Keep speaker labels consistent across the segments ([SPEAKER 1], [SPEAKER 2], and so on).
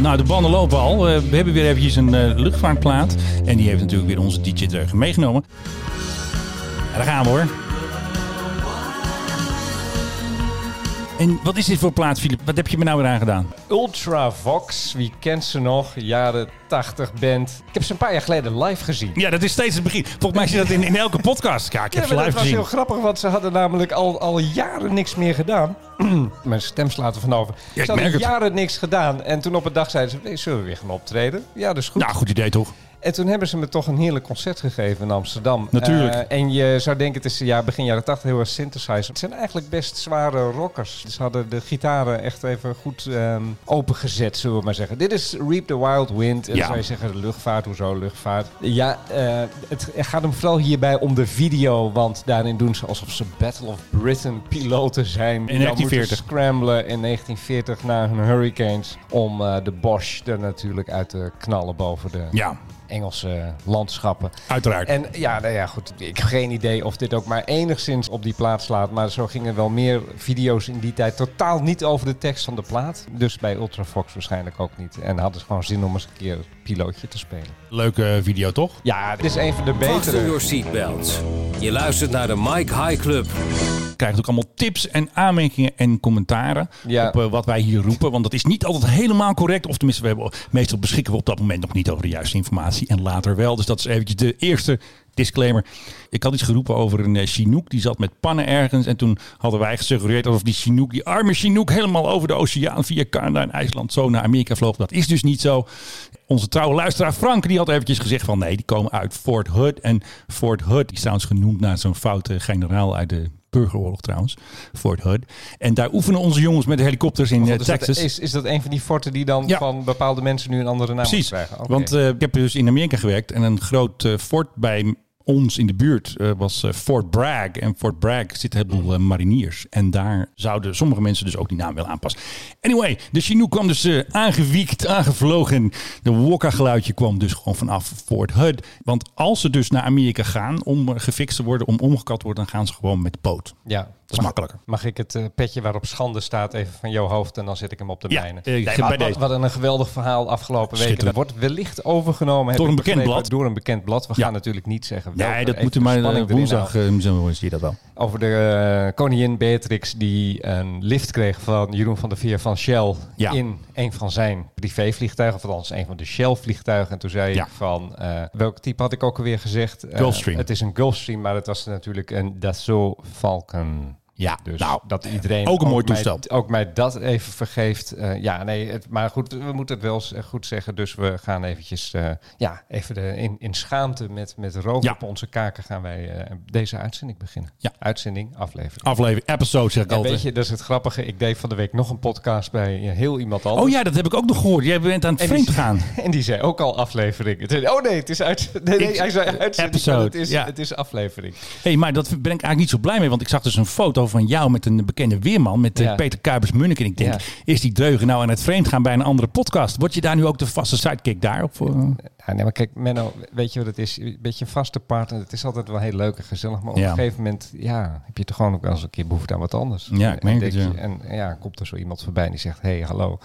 [SPEAKER 1] Nou, de banden lopen al. Eh, we hebben weer eventjes een eh, luchtvaartplaat. En die heeft natuurlijk weer onze DJ Dreugen meegenomen. Ja, daar gaan we hoor. En wat is dit voor plaat, Filip? Wat heb je me nou weer aangedaan?
[SPEAKER 2] Ultravox, wie kent ze nog? Jaren 80 band. Ik heb ze een paar jaar geleden live gezien.
[SPEAKER 1] Ja, dat is steeds het begin. Volgens mij zit dat in, in elke podcast. Ja, ik heb
[SPEAKER 2] Ja,
[SPEAKER 1] ze
[SPEAKER 2] maar dat
[SPEAKER 1] live
[SPEAKER 2] was heel
[SPEAKER 1] gezien.
[SPEAKER 2] grappig, want ze hadden namelijk al, al jaren niks meer gedaan. Mijn stem slaat er van over.
[SPEAKER 1] ik
[SPEAKER 2] ze hadden
[SPEAKER 1] merk het.
[SPEAKER 2] jaren niks gedaan. En toen op een dag zeiden ze, zullen we weer gaan optreden? Ja, dat is goed.
[SPEAKER 1] Nou, goed idee toch?
[SPEAKER 2] En toen hebben ze me toch een heerlijk concert gegeven in Amsterdam.
[SPEAKER 1] Natuurlijk.
[SPEAKER 2] Eh, en je zou denken, het is ja, begin jaren 80 heel erg synthesizer. Het zijn eigenlijk best zware rockers. Ze hadden de gitaren echt even goed ehm, opengezet, zullen we maar zeggen. Dit is Reap the Wild Wind. En
[SPEAKER 1] Ja.
[SPEAKER 2] dan zou je zeggen, luchtvaart, hoezo luchtvaart? Ja, eh, het gaat hem vooral hierbij om de video. Want daarin doen ze alsof ze Battle of Britain piloten zijn.
[SPEAKER 1] In 1940.
[SPEAKER 2] Dan moeten ze scramblen in 1940 na hun hurricanes. Om eh, de Bosch er natuurlijk uit te knallen boven de...
[SPEAKER 1] Ja,
[SPEAKER 2] Engelse landschappen.
[SPEAKER 1] uiteraard.
[SPEAKER 2] En ja, nou ja, goed. Ik heb geen idee of dit ook maar enigszins op die plaat slaat. Maar zo gingen wel meer video's in die tijd totaal niet over de tekst van de plaat. Dus bij Ultrafox waarschijnlijk ook niet. En hadden ze gewoon zin om eens een keer pilootje te spelen.
[SPEAKER 1] Leuke eh, video toch?
[SPEAKER 2] Ja, dit is een van de
[SPEAKER 3] Fasten
[SPEAKER 2] betere.
[SPEAKER 3] your seatbelts. Je luistert naar de Mike High Club.
[SPEAKER 1] krijgt ook allemaal tips en aanmerkingen en commentaren
[SPEAKER 2] Ja.
[SPEAKER 1] op eh, wat wij hier roepen. Want dat is niet altijd helemaal correct. Of tenminste, we hebben, meestal beschikken we op dat moment nog niet over de juiste informatie. En later wel. Dus dat is eventjes de eerste disclaimer. Ik had iets geroepen over een eh, Chinook. Die zat met pannen ergens. En toen hadden wij gesuggereerd alsof die Chinook, die arme Chinook, helemaal over de oceaan via Canada en IJsland zo naar Amerika vloog. Dat is dus niet zo. Onze trouwe luisteraar Frank, die had eventjes gezegd van nee, die komen uit Fort Hood. En Fort Hood is trouwens genoemd naar zo'n foute generaal uit de burgeroorlog trouwens, Fort Hood. En daar oefenen onze jongens met de helikopters in eh,
[SPEAKER 2] Dus dat
[SPEAKER 1] Texas.
[SPEAKER 2] is, is dat een van die forten die dan
[SPEAKER 1] Ja.
[SPEAKER 2] van bepaalde mensen nu een andere naam
[SPEAKER 1] Precies,
[SPEAKER 2] krijgen? Oké.
[SPEAKER 1] want eh, ik heb dus in Amerika gewerkt en een groot eh, fort bij ons in de buurt eh, was eh, Fort Bragg. En Fort Bragg zit een heleboel eh, mariniers. En daar zouden sommige mensen dus ook die naam willen aanpassen. Anyway, de Chinook kwam dus eh, aangewiekt, aangevlogen. De Wokka-geluidje kwam dus gewoon vanaf Fort Hood. Want als ze dus naar Amerika gaan om eh, gefixt te worden, om omgekat te worden, dan gaan ze gewoon met de boot.
[SPEAKER 2] ja. dus
[SPEAKER 1] Dat is makkelijker.
[SPEAKER 2] Mag ik het eh, petje waarop schande staat even van jouw hoofd en dan zet ik hem op de
[SPEAKER 1] Ja,
[SPEAKER 2] mijne?
[SPEAKER 1] eh, ik
[SPEAKER 2] Nee,
[SPEAKER 1] ga
[SPEAKER 2] maar
[SPEAKER 1] bij
[SPEAKER 2] wat,
[SPEAKER 1] deze.
[SPEAKER 2] wat een geweldig verhaal afgelopen weken. Dat
[SPEAKER 1] Schitterend.
[SPEAKER 2] wordt wellicht overgenomen. heb
[SPEAKER 1] Door een
[SPEAKER 2] ik
[SPEAKER 1] bekend
[SPEAKER 2] begrepen,
[SPEAKER 1] blad.
[SPEAKER 2] Door een bekend blad. We
[SPEAKER 1] Ja.
[SPEAKER 2] gaan natuurlijk niet zeggen. welke.
[SPEAKER 1] Nee, dat
[SPEAKER 2] Even
[SPEAKER 1] moeten
[SPEAKER 2] de
[SPEAKER 1] we maar eh,
[SPEAKER 2] spanning erin
[SPEAKER 1] woensdag,
[SPEAKER 2] houden.
[SPEAKER 1] eh, zo zie je dat wel.
[SPEAKER 2] Over de eh, koningin Beatrix die een lift kreeg van Jeroen van der Veer van Shell.
[SPEAKER 1] Ja.
[SPEAKER 2] In een van zijn privévliegtuigen. Of althans een van de Shell vliegtuigen. En toen zei
[SPEAKER 1] Ja.
[SPEAKER 2] ik van, eh, welk type had ik ook alweer gezegd? Eh,
[SPEAKER 1] Gulfstream.
[SPEAKER 2] het is een Gulfstream, maar het was natuurlijk een Dassault Falcon.
[SPEAKER 1] Ja,
[SPEAKER 2] Dus
[SPEAKER 1] nou,
[SPEAKER 2] dat iedereen
[SPEAKER 1] ook een mooi
[SPEAKER 2] mij-
[SPEAKER 1] toestel.
[SPEAKER 2] ook mij dat even vergeeft. Eh, ja, nee, het, maar goed, we moeten het wel eens, eh, goed zeggen. Dus we gaan eventjes, eh, ja, even de, in, in schaamte met, met rook
[SPEAKER 1] Ja.
[SPEAKER 2] op onze kaken gaan wij eh, deze uitzending beginnen.
[SPEAKER 1] Ja.
[SPEAKER 2] Uitzending, aflevering.
[SPEAKER 1] aflevering, episode zeg ik
[SPEAKER 2] En
[SPEAKER 1] altijd.
[SPEAKER 2] weet je, dat is het grappige. Ik deed van de week nog een podcast bij eh, heel iemand anders.
[SPEAKER 1] Oh ja, dat heb ik ook nog gehoord. Jij bent aan het
[SPEAKER 2] En die-
[SPEAKER 1] vreemd gaan.
[SPEAKER 2] En die zei ook al aflevering. Het- Oh nee, het is uit. Nee, nee,
[SPEAKER 1] Ik-
[SPEAKER 2] hij zei uitzending.
[SPEAKER 1] episode,
[SPEAKER 2] maar Het is,
[SPEAKER 1] ja.
[SPEAKER 2] het is aflevering.
[SPEAKER 1] Hé, maar dat ben ik eigenlijk niet zo blij mee. Want ik zag dus een foto van jou met een bekende weerman. Met eh,
[SPEAKER 2] Ja.
[SPEAKER 1] Peter Kuipers-Munnik. En ik denk,
[SPEAKER 2] Ja.
[SPEAKER 1] is die dreugen nou aan het vreemd gaan bij een andere podcast? Word je daar nu ook de vaste sidekick eh? daarop? voor?
[SPEAKER 2] Ja, nee, maar kijk, Menno, weet je wat het is? Een beetje een vaste partner. Het is altijd wel heel leuk en gezellig. Maar op
[SPEAKER 1] Ja.
[SPEAKER 2] een gegeven moment ja, heb je toch gewoon ook wel eens een keer behoefte aan wat anders.
[SPEAKER 1] Ja, ik
[SPEAKER 2] En
[SPEAKER 1] merk
[SPEAKER 2] denk
[SPEAKER 1] het, ja.
[SPEAKER 2] je- En ja, komt er zo iemand voorbij die zegt, hé, hey, hallo,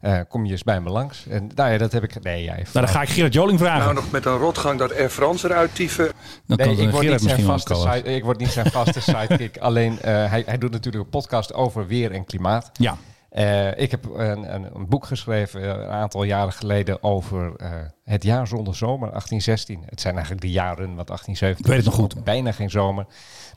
[SPEAKER 2] eh, kom je eens bij me langs? En nou ja, dat heb ik... Nee, jij...
[SPEAKER 1] nou, dan ga ik Gerard Joling vragen.
[SPEAKER 4] Nou, nog met een rotgang dat Air France eruit dieven.
[SPEAKER 1] dan kan
[SPEAKER 2] Nee, ik
[SPEAKER 1] eh,
[SPEAKER 2] word, niet
[SPEAKER 1] Gerard
[SPEAKER 2] zijn
[SPEAKER 1] misschien wel
[SPEAKER 2] vaste
[SPEAKER 1] komen.
[SPEAKER 2] side, ik word niet zijn vaste sidekick. Alleen, eh, hij, hij doet natuurlijk een podcast over weer en klimaat.
[SPEAKER 1] Ja,
[SPEAKER 2] Eh, ik heb een, een, een boek geschreven eh, een aantal jaren geleden over eh, het jaar zonder zomer, 1816. Het zijn eigenlijk de jaren, want 1817
[SPEAKER 1] Ik weet het nog
[SPEAKER 2] was
[SPEAKER 1] goed.
[SPEAKER 2] ook bijna geen zomer.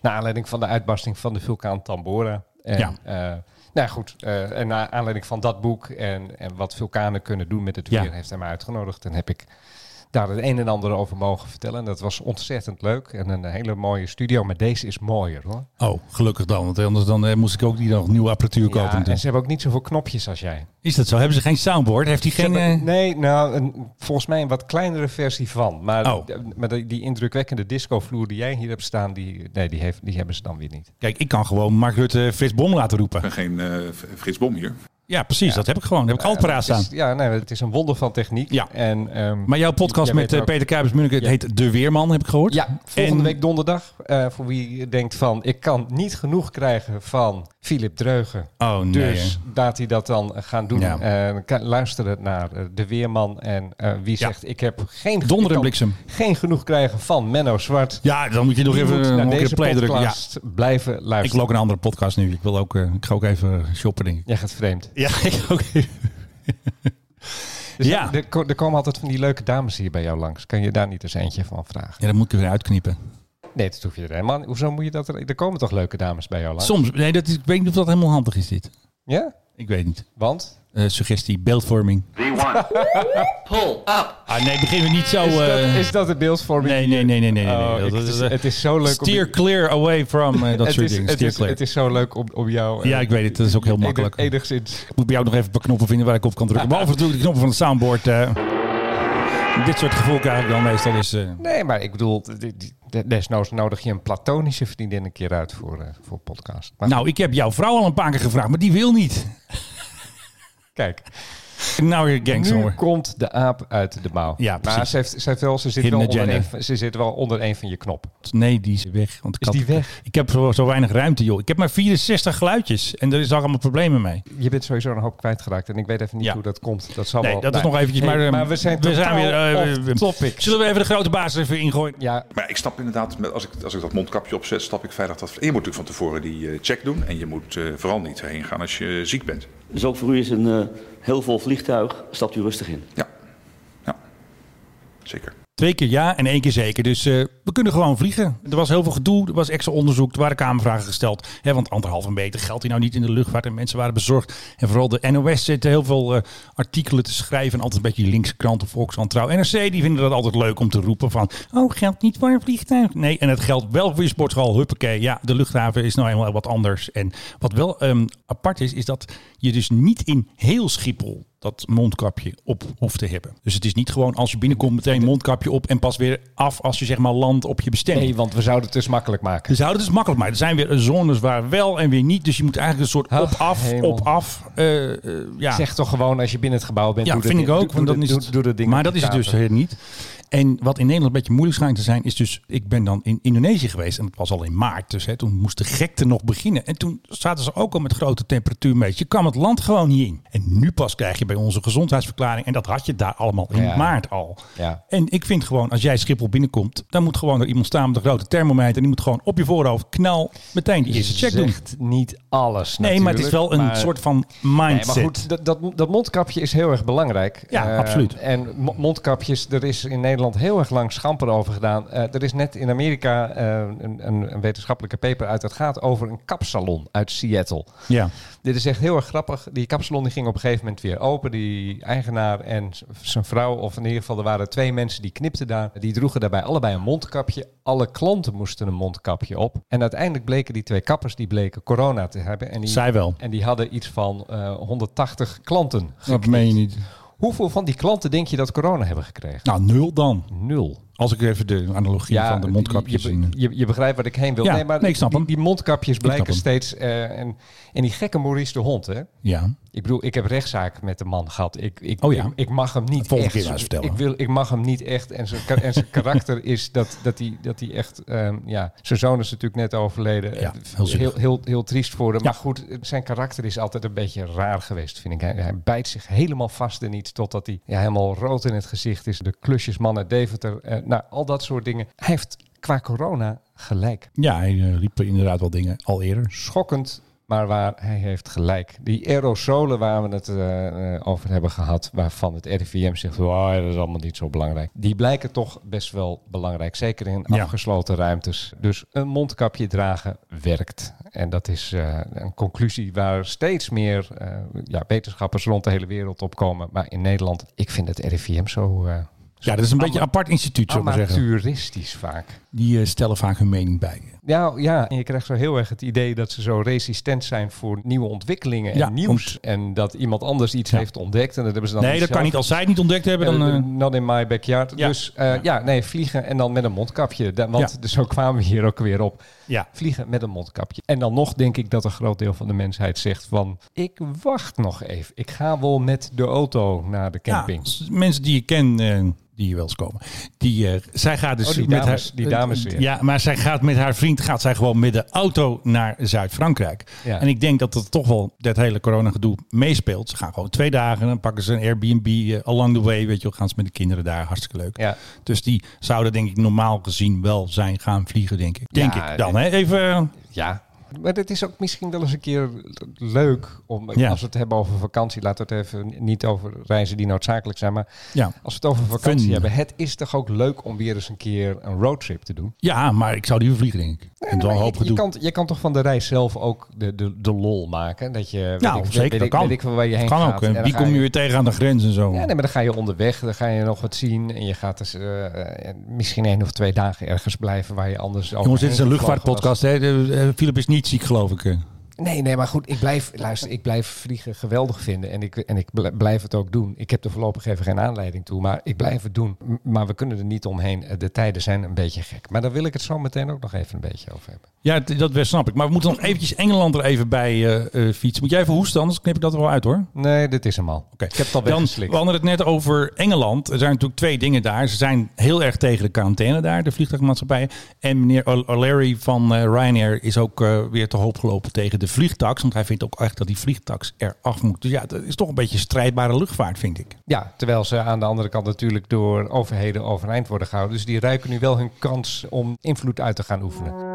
[SPEAKER 2] Naar aanleiding van de uitbarsting van de vulkaan Tambora. En,
[SPEAKER 1] Ja.
[SPEAKER 2] eh, nou ja, goed, eh, en naar aanleiding van dat boek en, en wat vulkanen kunnen doen met het
[SPEAKER 1] Ja.
[SPEAKER 2] weer, heeft hij mij uitgenodigd. En heb ik daar het een en ander over mogen vertellen. En dat was ontzettend leuk en een hele mooie studio. Maar deze is mooier hoor.
[SPEAKER 1] oh, gelukkig dan. Want anders dan, eh, moest ik ook die nog nieuwe apparatuur kopen.
[SPEAKER 2] Ja, en
[SPEAKER 1] natuurlijk.
[SPEAKER 2] ze hebben ook niet zoveel knopjes als jij.
[SPEAKER 1] Is dat zo? Hebben ze geen soundboard? Heeft hij geen... eh,
[SPEAKER 2] Nee, nou, een, volgens mij een wat kleinere versie van. Maar,
[SPEAKER 1] Oh.
[SPEAKER 2] d- maar die, die indrukwekkende discovloer die jij hier hebt staan, die, nee, die, heeft, die hebben ze dan weer niet.
[SPEAKER 1] Kijk, ik kan gewoon Mark Rutte Frits Bom laten roepen.
[SPEAKER 5] ben geen eh, F- Frits Bom hier.
[SPEAKER 1] Ja, precies. Dat heb ik gewoon. Dat heb ik altijd paraat
[SPEAKER 2] Het
[SPEAKER 1] staan.
[SPEAKER 2] is, ja, nee, het is een wonder van techniek.
[SPEAKER 1] Ja.
[SPEAKER 2] En, ehm,
[SPEAKER 1] Maar jouw podcast
[SPEAKER 2] jij
[SPEAKER 1] met
[SPEAKER 2] weet
[SPEAKER 1] eh,
[SPEAKER 2] ook-
[SPEAKER 1] Peter Kuipers-Munnik het
[SPEAKER 2] Ja.
[SPEAKER 1] heet De Weerman, heb ik gehoord.
[SPEAKER 2] Ja, volgende
[SPEAKER 1] En-
[SPEAKER 2] week donderdag. eh, voor wie denkt van, ik kan niet genoeg krijgen van Philip Dreugen.
[SPEAKER 1] Oh nee.
[SPEAKER 2] Dus laat hij dat dan gaan doen.
[SPEAKER 1] Ja.
[SPEAKER 2] Eh, ka- luister het naar eh, de weerman en eh, wie
[SPEAKER 1] Ja.
[SPEAKER 2] zegt ik heb geen,
[SPEAKER 1] Donder en
[SPEAKER 2] ik kan
[SPEAKER 1] bliksem.
[SPEAKER 2] geen genoeg krijgen van Menno Zwart.
[SPEAKER 1] Ja, dan moet je nog
[SPEAKER 2] Die
[SPEAKER 1] even
[SPEAKER 2] moet
[SPEAKER 1] eh, nog
[SPEAKER 2] naar
[SPEAKER 1] een keer
[SPEAKER 2] deze
[SPEAKER 1] play drukken. Ja,
[SPEAKER 2] podcast blijven
[SPEAKER 1] ik
[SPEAKER 2] luisteren.
[SPEAKER 1] wil ook een andere podcast nu. Ik, wil ook, eh, ik ga ook even shoppen, denk ik.
[SPEAKER 2] Jij gaat vreemd.
[SPEAKER 1] Ja, ik ook.
[SPEAKER 2] Dus
[SPEAKER 1] Ja.
[SPEAKER 2] er, er ko- er komen altijd van die leuke dames hier bij jou langs. Kan je daar niet eens eentje van vragen?
[SPEAKER 1] Ja, dat moet ik er weer uitknippen.
[SPEAKER 2] Nee, dat hoef je er helemaal niet. Hoezo moet je dat? Er, er komen toch leuke dames bij jou langs?
[SPEAKER 1] Soms, nee, dat is, ik weet niet of dat helemaal handig is, dit.
[SPEAKER 2] Ja?
[SPEAKER 1] Ik weet niet.
[SPEAKER 2] Want?
[SPEAKER 1] Eh, suggestie, beeldvorming. Ah nee, beginnen we niet zo...
[SPEAKER 2] Is, dat,
[SPEAKER 1] eh,
[SPEAKER 2] is dat de beeldvorming?
[SPEAKER 1] Nee, nee, nee, nee, nee. nee,
[SPEAKER 2] Oh,
[SPEAKER 1] nee.
[SPEAKER 2] ik-
[SPEAKER 1] Dat
[SPEAKER 2] het is-
[SPEAKER 1] eh,
[SPEAKER 2] het is zo leuk om-
[SPEAKER 1] Steer clear away from eh, dat
[SPEAKER 2] het,
[SPEAKER 1] soort
[SPEAKER 2] is,
[SPEAKER 1] dingen.
[SPEAKER 2] het,
[SPEAKER 1] Steer
[SPEAKER 2] is,
[SPEAKER 1] clear.
[SPEAKER 2] het is zo leuk om, om jou... eh,
[SPEAKER 1] ja, ik weet het. Dat is ook heel
[SPEAKER 2] enig-
[SPEAKER 1] makkelijk.
[SPEAKER 2] Enigszins.
[SPEAKER 1] Ik moet bij jou ook nog even een paar knoppen vinden waar ik op kan drukken. Behalve natuurlijk de knoppen van het soundboard. eh. dit soort gevoel krijg ik dan meestal is... eh,
[SPEAKER 2] Nee, maar ik bedoel, d- d- d- desnoods nodig je een platonische vriendin een keer uit voor, eh, voor podcast. Maar
[SPEAKER 1] nou, ik heb jouw vrouw al een paar keer gevraagd, maar die wil niet.
[SPEAKER 2] kijk,
[SPEAKER 1] Nou, weer gangs
[SPEAKER 2] nu
[SPEAKER 1] hoor.
[SPEAKER 2] komt de aap uit de mouw.
[SPEAKER 1] Ja,
[SPEAKER 2] maar
[SPEAKER 1] precies.
[SPEAKER 2] ze, heeft, ze, heeft wel, ze, zit
[SPEAKER 1] Hidden
[SPEAKER 2] wel onder
[SPEAKER 1] agenda.
[SPEAKER 2] een, ze zit wel onder een van je knop.
[SPEAKER 1] Nee, die is weg. Want ik
[SPEAKER 2] Is
[SPEAKER 1] had-
[SPEAKER 2] die weg?
[SPEAKER 1] Ik heb zo, zo weinig ruimte, joh. Ik heb maar 64 geluidjes en er is daar allemaal problemen mee.
[SPEAKER 2] Je bent sowieso een hoop kwijtgeraakt en ik weet even niet
[SPEAKER 1] Ja.
[SPEAKER 2] hoe dat komt. Dat zal
[SPEAKER 1] Nee,
[SPEAKER 2] wel,
[SPEAKER 1] dat is
[SPEAKER 2] nou,
[SPEAKER 1] nog eventjes.
[SPEAKER 2] hey,
[SPEAKER 1] maar, eh,
[SPEAKER 2] we zijn totaal
[SPEAKER 1] eh,
[SPEAKER 2] off
[SPEAKER 1] eh,
[SPEAKER 2] topic.
[SPEAKER 1] Zullen we even de grote baas er even ingooien?
[SPEAKER 2] Ja,
[SPEAKER 5] Maar ik snap inderdaad, met- als ik, als ik dat mondkapje opzet, stap ik veilig dat... En je moet natuurlijk van tevoren die eh, check doen. En je moet eh, vooral niet heen gaan als je ziek bent.
[SPEAKER 6] Dus ook voor u is een eh, heel vol vliegtuig. Stapt u rustig in.
[SPEAKER 5] Ja, ja. zeker.
[SPEAKER 1] Twee keer ja en één keer zeker. Dus eh, we kunnen gewoon vliegen. Er was heel veel gedoe, er was extra onderzoek, er waren kamervragen gesteld. Hè, want anderhalve meter geldt die nou niet in de luchtvaart en mensen waren bezorgd. En vooral de NOS zit heel veel eh, artikelen te schrijven. En altijd een beetje die linkse kranten, Volkskrant, Trouw, NRC. Die vinden dat altijd leuk om te roepen van, oh geldt niet voor een vliegtuig. Nee, en het geldt wel voor je sportschool, huppakee. Ja, de luchthaven is nou eenmaal wat anders. En wat wel ehm, apart is, is dat je dus niet in heel Schiphol dat mondkapje op hoeft te hebben. Dus het is niet gewoon als je binnenkomt meteen mondkapje op en pas weer af als je zeg maar landt op je bestemming.
[SPEAKER 2] nee, want we zouden het dus makkelijk maken.
[SPEAKER 1] Ze houden het dus makkelijk, maar er zijn weer zones waar wel en weer niet. Dus je moet eigenlijk een soort
[SPEAKER 2] Ach,
[SPEAKER 1] op-af,
[SPEAKER 2] hemel.
[SPEAKER 1] op-af. eh, eh, ja.
[SPEAKER 2] Zeg toch gewoon als je binnen het gebouw bent.
[SPEAKER 1] Ja,
[SPEAKER 2] doe dat
[SPEAKER 1] vind ik
[SPEAKER 2] ding-
[SPEAKER 1] ook.
[SPEAKER 2] doe-
[SPEAKER 1] want
[SPEAKER 2] doe
[SPEAKER 1] dan is
[SPEAKER 2] dat- doe-
[SPEAKER 1] het-
[SPEAKER 2] doe dat ding
[SPEAKER 1] maar
[SPEAKER 2] op
[SPEAKER 1] dat
[SPEAKER 2] de
[SPEAKER 1] is het dus
[SPEAKER 2] tafel.
[SPEAKER 1] eh, niet. En wat in Nederland een beetje moeilijk schijnt te zijn, is dus... Ik ben dan in Indonesië geweest en dat was al in maart. Dus hè, toen moest de gekte nog beginnen. En toen zaten ze ook al met grote temperatuur mee. Je kwam het land gewoon niet in. En nu pas krijg je bij onze gezondheidsverklaring... en dat had je daar allemaal in
[SPEAKER 2] Ja.
[SPEAKER 1] maart al.
[SPEAKER 2] Ja.
[SPEAKER 1] En ik vind gewoon, als jij Schiphol binnenkomt... dan moet gewoon er iemand staan met een grote thermometer... en die moet gewoon op je voorhoofd knal meteen die eerste check doen.
[SPEAKER 2] Zegt niet alles
[SPEAKER 1] Nee, maar het is wel een
[SPEAKER 2] maar-
[SPEAKER 1] soort van
[SPEAKER 2] Nee,
[SPEAKER 1] mindset.
[SPEAKER 2] maar goed, dat, dat, dat mondkapje is heel erg belangrijk.
[SPEAKER 1] Ja,
[SPEAKER 2] Eh,
[SPEAKER 1] absoluut.
[SPEAKER 2] En mo- mondkapjes, er is in Nederland heel erg lang schamper over gedaan. Eh, er is net in Amerika eh, een, een, een wetenschappelijke paper uit. Dat gaat over een kapsalon uit Seattle.
[SPEAKER 1] Ja.
[SPEAKER 2] Dit is echt heel erg grappig. Die kapsalon die ging op een gegeven moment weer open. Die eigenaar en z- zijn vrouw, of in ieder geval er waren twee mensen die knipten daar. Die droegen daarbij allebei een mondkapje. Alle klanten moesten een mondkapje op. En uiteindelijk bleken die twee kappers, die bleken corona te hebben. En die,
[SPEAKER 1] Zij wel.
[SPEAKER 2] En die hadden iets van eh, 180 klanten.
[SPEAKER 1] Dat meen je niet.
[SPEAKER 2] Hoeveel van die klanten denk je dat corona hebben gekregen?
[SPEAKER 1] Nou, nul dan.
[SPEAKER 2] Nul.
[SPEAKER 1] Als ik even de analogie van de mondkapjes
[SPEAKER 2] Je,
[SPEAKER 1] in.
[SPEAKER 2] je, je, je begrijpt wat ik heen wil.
[SPEAKER 1] Ja,
[SPEAKER 2] nee, maar
[SPEAKER 1] nee, ik snap
[SPEAKER 2] die,
[SPEAKER 1] hem.
[SPEAKER 2] die mondkapjes blijken
[SPEAKER 1] hem.
[SPEAKER 2] steeds... eh, en, en die gekke Maurice de Hond, hè?
[SPEAKER 1] Ja.
[SPEAKER 2] Ik bedoel, ik heb rechtszaak met de man gehad. Ik, ik,
[SPEAKER 1] Oh ja.
[SPEAKER 2] ik, ik mag hem niet
[SPEAKER 1] Volgende
[SPEAKER 2] echt.
[SPEAKER 1] keer maar eens vertellen.
[SPEAKER 2] Ik, wil, ik mag hem niet echt. En zijn, ka- en zijn karakter is dat dat hij dat hij echt... ehm, ja, zijn zoon is natuurlijk net overleden.
[SPEAKER 1] Ja,
[SPEAKER 2] Eh,
[SPEAKER 1] heel
[SPEAKER 2] heel,
[SPEAKER 1] zielig.
[SPEAKER 2] heel, heel, triest voor hem.
[SPEAKER 1] Ja.
[SPEAKER 2] Maar goed, zijn karakter is altijd een beetje raar geweest, vind ik. Hij, hij bijt zich helemaal vast in iets totdat hij ja, helemaal rood in het gezicht is. De klusjesman uit Deventer. eh, nou, al dat soort dingen. Hij heeft qua corona gelijk
[SPEAKER 1] Ja, hij eh, riep inderdaad wel dingen al eerder.
[SPEAKER 2] schokkend, maar waar hij heeft gelijk. Die aerosolen waar we het eh, eh, over hebben gehad, waarvan het RIVM zegt, "Wow, dat is allemaal niet zo belangrijk. Die blijken toch best wel belangrijk, zeker in
[SPEAKER 1] Ja.
[SPEAKER 2] afgesloten ruimtes. Dus een mondkapje dragen werkt. En dat is eh, een conclusie waar steeds meer eh, ja, wetenschappers rond de hele wereld op komen. Maar in Nederland, ik vind het RIVM zo... eh,
[SPEAKER 1] Ja, dat is een
[SPEAKER 2] Ama-
[SPEAKER 1] beetje een apart instituut, zou ik maar zeggen.
[SPEAKER 2] amateuristisch vaak.
[SPEAKER 1] Die eh, stellen vaak hun mening bij.
[SPEAKER 2] Ja, ja, en je krijgt zo heel erg het idee dat ze zo resistent zijn voor nieuwe ontwikkelingen en
[SPEAKER 1] Ja,
[SPEAKER 2] nieuws. En dat iemand anders iets
[SPEAKER 1] Ja.
[SPEAKER 2] heeft ontdekt en dat hebben ze dan
[SPEAKER 1] Nee, dat kan niet. Als zij het niet ontdekt hebben, dan... eh,
[SPEAKER 2] Not in my backyard.
[SPEAKER 1] Ja.
[SPEAKER 2] Dus eh, ja. nee, vliegen en dan met een mondkapje. Da- want
[SPEAKER 1] Ja.
[SPEAKER 2] dus zo kwamen we hier ook weer op.
[SPEAKER 1] ja.
[SPEAKER 2] Vliegen met een mondkapje. En dan nog denk ik dat een groot deel van de mensheid zegt van... Ik wacht nog even. Ik ga wel met de auto naar de
[SPEAKER 1] ja.
[SPEAKER 2] camping.
[SPEAKER 1] s- Mensen die ik ken, eh, die hier wel eens komen. Die, eh, zij gaat dus
[SPEAKER 2] Oh, die
[SPEAKER 1] met
[SPEAKER 2] dames,
[SPEAKER 1] haar, eh,
[SPEAKER 2] die dames
[SPEAKER 1] ja.
[SPEAKER 2] weer.
[SPEAKER 1] maar zij gaat met haar vriend gaat zij gewoon met de auto naar Zuid-Frankrijk.
[SPEAKER 2] Ja.
[SPEAKER 1] En ik denk dat dat toch wel dat hele corona-gedoe meespeelt. Ze gaan gewoon twee dagen, dan pakken ze een Airbnb eh, along the way, weet je, wel, gaan ze met de kinderen daar, hartstikke leuk.
[SPEAKER 2] Ja.
[SPEAKER 1] Dus die zouden denk ik normaal gezien wel zijn gaan vliegen, denk ik. Denk
[SPEAKER 2] Ja,
[SPEAKER 1] ik dan. Hè? Even eh,
[SPEAKER 2] Ja. Maar het is ook misschien wel eens een keer leuk om,
[SPEAKER 1] Ja.
[SPEAKER 2] als we het hebben over vakantie, laten we het even niet over reizen die noodzakelijk zijn, maar
[SPEAKER 1] ja.
[SPEAKER 2] als we het over vakantie
[SPEAKER 1] Fun.
[SPEAKER 2] hebben, het is toch ook leuk om weer eens een keer een roadtrip te doen.
[SPEAKER 1] ja, maar ik zou die vliegen, denk ik. en dan
[SPEAKER 2] Maar
[SPEAKER 1] een hoop
[SPEAKER 2] je, je,
[SPEAKER 1] gedoe.
[SPEAKER 2] kan, je kan toch van de reis zelf ook de, de, de lol maken? Dat je, weet
[SPEAKER 1] Ja,
[SPEAKER 2] ik,
[SPEAKER 1] Nou, zeker,
[SPEAKER 2] weet
[SPEAKER 1] dat
[SPEAKER 2] ik,
[SPEAKER 1] kan.
[SPEAKER 2] Weet ik wel waar je heen
[SPEAKER 1] kan
[SPEAKER 2] gaat.
[SPEAKER 1] ook.
[SPEAKER 2] En
[SPEAKER 1] hè.
[SPEAKER 2] dan
[SPEAKER 1] Die
[SPEAKER 2] ga
[SPEAKER 1] kom je
[SPEAKER 2] je-
[SPEAKER 1] weer tegen aan de grens en zo.
[SPEAKER 2] Ja, nee, maar dan ga je onderweg, dan ga je nog wat zien. En je gaat dus eh, eh, misschien één of twee dagen ergens blijven waar je anders over.
[SPEAKER 1] Jongens, dit is een luchtvaartpodcast. Hè? Eh, eh, Philip is niet ziek, geloof ik. eh.
[SPEAKER 2] Nee, nee, maar goed, ik blijf, luister, ik blijf vliegen geweldig vinden. En ik, en ik bl- blijf het ook doen. Ik heb er voorlopig even geen aanleiding toe, maar ik blijf het doen. M- Maar we kunnen er niet omheen. Eh, De tijden zijn een beetje gek. Maar daar wil ik het zo meteen ook nog even een beetje over hebben.
[SPEAKER 1] Ja, t- dat wel snap ik. Maar we moeten nog eventjes Engeland er even bij eh, eh, fietsen. Moet jij even hoesten, anders knip ik dat er wel uit hoor.
[SPEAKER 2] Nee, dit is hem al.
[SPEAKER 1] Oké.
[SPEAKER 2] Ik heb het al
[SPEAKER 1] Dan,
[SPEAKER 2] weggeslikt.
[SPEAKER 1] we hadden het net over Engeland. Er zijn natuurlijk twee dingen daar. Ze zijn heel erg tegen de quarantaine daar, de vliegtuigmaatschappijen. En meneer O'L- O'Leary van eh, Ryanair is ook eh, weer te hoop gelopen tegen de vliegtax. Want hij vindt ook echt dat die vliegtax eraf moet. Dus ja, dat is toch een beetje strijdbare luchtvaart, vind ik.
[SPEAKER 2] Ja, terwijl ze aan de andere kant natuurlijk door overheden overeind worden gehouden. Dus die ruiken nu wel hun kans om invloed uit te gaan oefenen.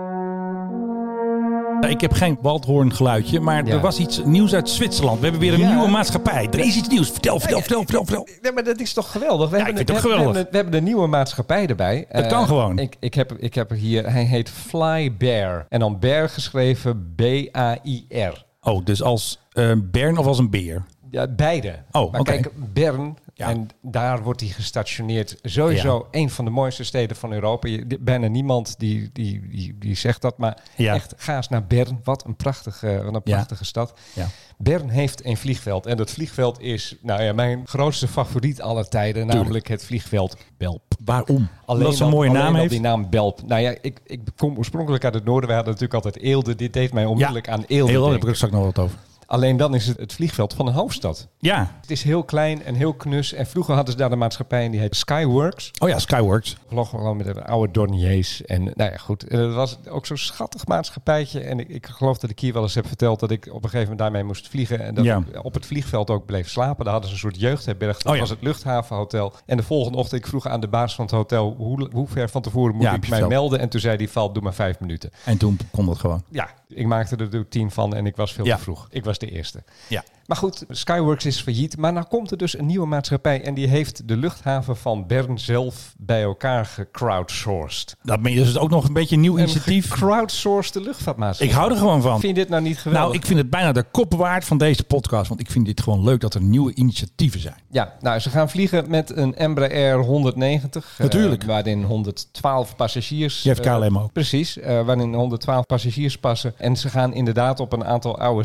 [SPEAKER 1] Nou, Ik heb geen waldhoorn geluidje, maar
[SPEAKER 2] Ja.
[SPEAKER 1] er was iets nieuws uit Zwitserland. We hebben weer een
[SPEAKER 2] Ja.
[SPEAKER 1] nieuwe maatschappij. Er is iets nieuws. Vertel, vertel, vertel, vertel, vertel.
[SPEAKER 2] Nee, maar dat is toch geweldig? We
[SPEAKER 1] Ja,
[SPEAKER 2] hebben
[SPEAKER 1] ik vind
[SPEAKER 2] een-
[SPEAKER 1] het
[SPEAKER 2] we
[SPEAKER 1] ook
[SPEAKER 2] hebben een- We hebben een nieuwe maatschappij erbij.
[SPEAKER 1] Dat
[SPEAKER 2] Eh,
[SPEAKER 1] kan gewoon.
[SPEAKER 2] Ik, ik, heb, ik heb er hier, hij heet Fly Bear. En dan Bear geschreven B-A-I-R.
[SPEAKER 1] Oh, dus als eh, Bern of als een beer?
[SPEAKER 2] Ja, beide.
[SPEAKER 1] Oh,
[SPEAKER 2] maar
[SPEAKER 1] oké.
[SPEAKER 2] kijk, Bern,
[SPEAKER 1] Ja.
[SPEAKER 2] en daar wordt hij gestationeerd. Sowieso een van de mooiste steden van Europa. Je- di- bijna niemand die, die, die, die zegt dat. Maar
[SPEAKER 1] Ja.
[SPEAKER 2] echt, ga eens naar Bern. Wat een prachtige, wat een
[SPEAKER 1] Ja.
[SPEAKER 2] prachtige stad.
[SPEAKER 1] Ja.
[SPEAKER 2] Bern heeft een vliegveld. En dat vliegveld is nou ja, mijn grootste favoriet aller tijden. Namelijk het vliegveld Belp.
[SPEAKER 1] Waarom?
[SPEAKER 2] Alleen
[SPEAKER 1] Omdat ze een
[SPEAKER 2] al-
[SPEAKER 1] mooie
[SPEAKER 2] alleen
[SPEAKER 1] naam
[SPEAKER 2] al
[SPEAKER 1] heeft.
[SPEAKER 2] die naam Belp. Nou ja, ik, ik kom oorspronkelijk uit het noorden. We hadden natuurlijk altijd Eelde. Dit deed mij onmiddellijk aan Eelde
[SPEAKER 1] Heel, daar heb ik
[SPEAKER 2] denken.
[SPEAKER 1] er straks nog wat over.
[SPEAKER 2] Alleen dan is het het vliegveld van een hoofdstad.
[SPEAKER 1] Ja.
[SPEAKER 2] Het is heel klein en heel knus. En vroeger hadden ze daar een maatschappij en die heet Skyworks.
[SPEAKER 1] Oh ja, Skyworks.
[SPEAKER 2] Vloggen we dan met de oude Dorniers. En nou ja, goed. En dat was ook zo'n schattig maatschappijtje. En ik, ik geloof dat ik hier wel eens heb verteld dat ik op een gegeven moment daarmee moest vliegen. En dat
[SPEAKER 1] Ja.
[SPEAKER 2] ik op het vliegveld ook bleef slapen. Daar hadden ze een soort jeugdherberg. Dat
[SPEAKER 1] Oh ja.
[SPEAKER 2] was het luchthavenhotel. En de volgende ochtend, ik vroeg aan de baas van het hotel hoe, hoe ver van tevoren moet
[SPEAKER 1] Ja, heb
[SPEAKER 2] ik
[SPEAKER 1] je
[SPEAKER 2] mij
[SPEAKER 1] verteld.
[SPEAKER 2] melden. En toen zei hij, val, doe maar vijf minuten.
[SPEAKER 1] En toen kon dat gewoon.
[SPEAKER 2] Ja, ik maakte er natuurlijk tien van en ik was veel
[SPEAKER 1] Ja.
[SPEAKER 2] te vroeg. Ik was de eerste.
[SPEAKER 1] Ja.
[SPEAKER 2] Maar goed, Skyworks is failliet. Maar nou komt er dus een nieuwe maatschappij. En die heeft de luchthaven van Bern zelf bij elkaar gecrowdsourced.
[SPEAKER 1] Dat ben je dus ook nog een beetje een nieuw
[SPEAKER 2] Initiatief.
[SPEAKER 1] initiatief.
[SPEAKER 2] Crowdsourced de luchtvaartmaatschappij.
[SPEAKER 1] Ik hou er gewoon van.
[SPEAKER 2] Vind je dit nou niet geweldig?
[SPEAKER 1] Nou, ik vind het bijna de kop waard van deze podcast. Want ik vind dit gewoon leuk dat er nieuwe initiatieven zijn.
[SPEAKER 2] Ja, nou, ze gaan vliegen met een Embraer 190. eh,
[SPEAKER 1] Natuurlijk.
[SPEAKER 2] waarin 112 passagiers...
[SPEAKER 1] Jeff
[SPEAKER 2] eh,
[SPEAKER 1] KLM ook.
[SPEAKER 2] Precies, eh, waarin 112 passagiers passen. En ze gaan inderdaad op een aantal oude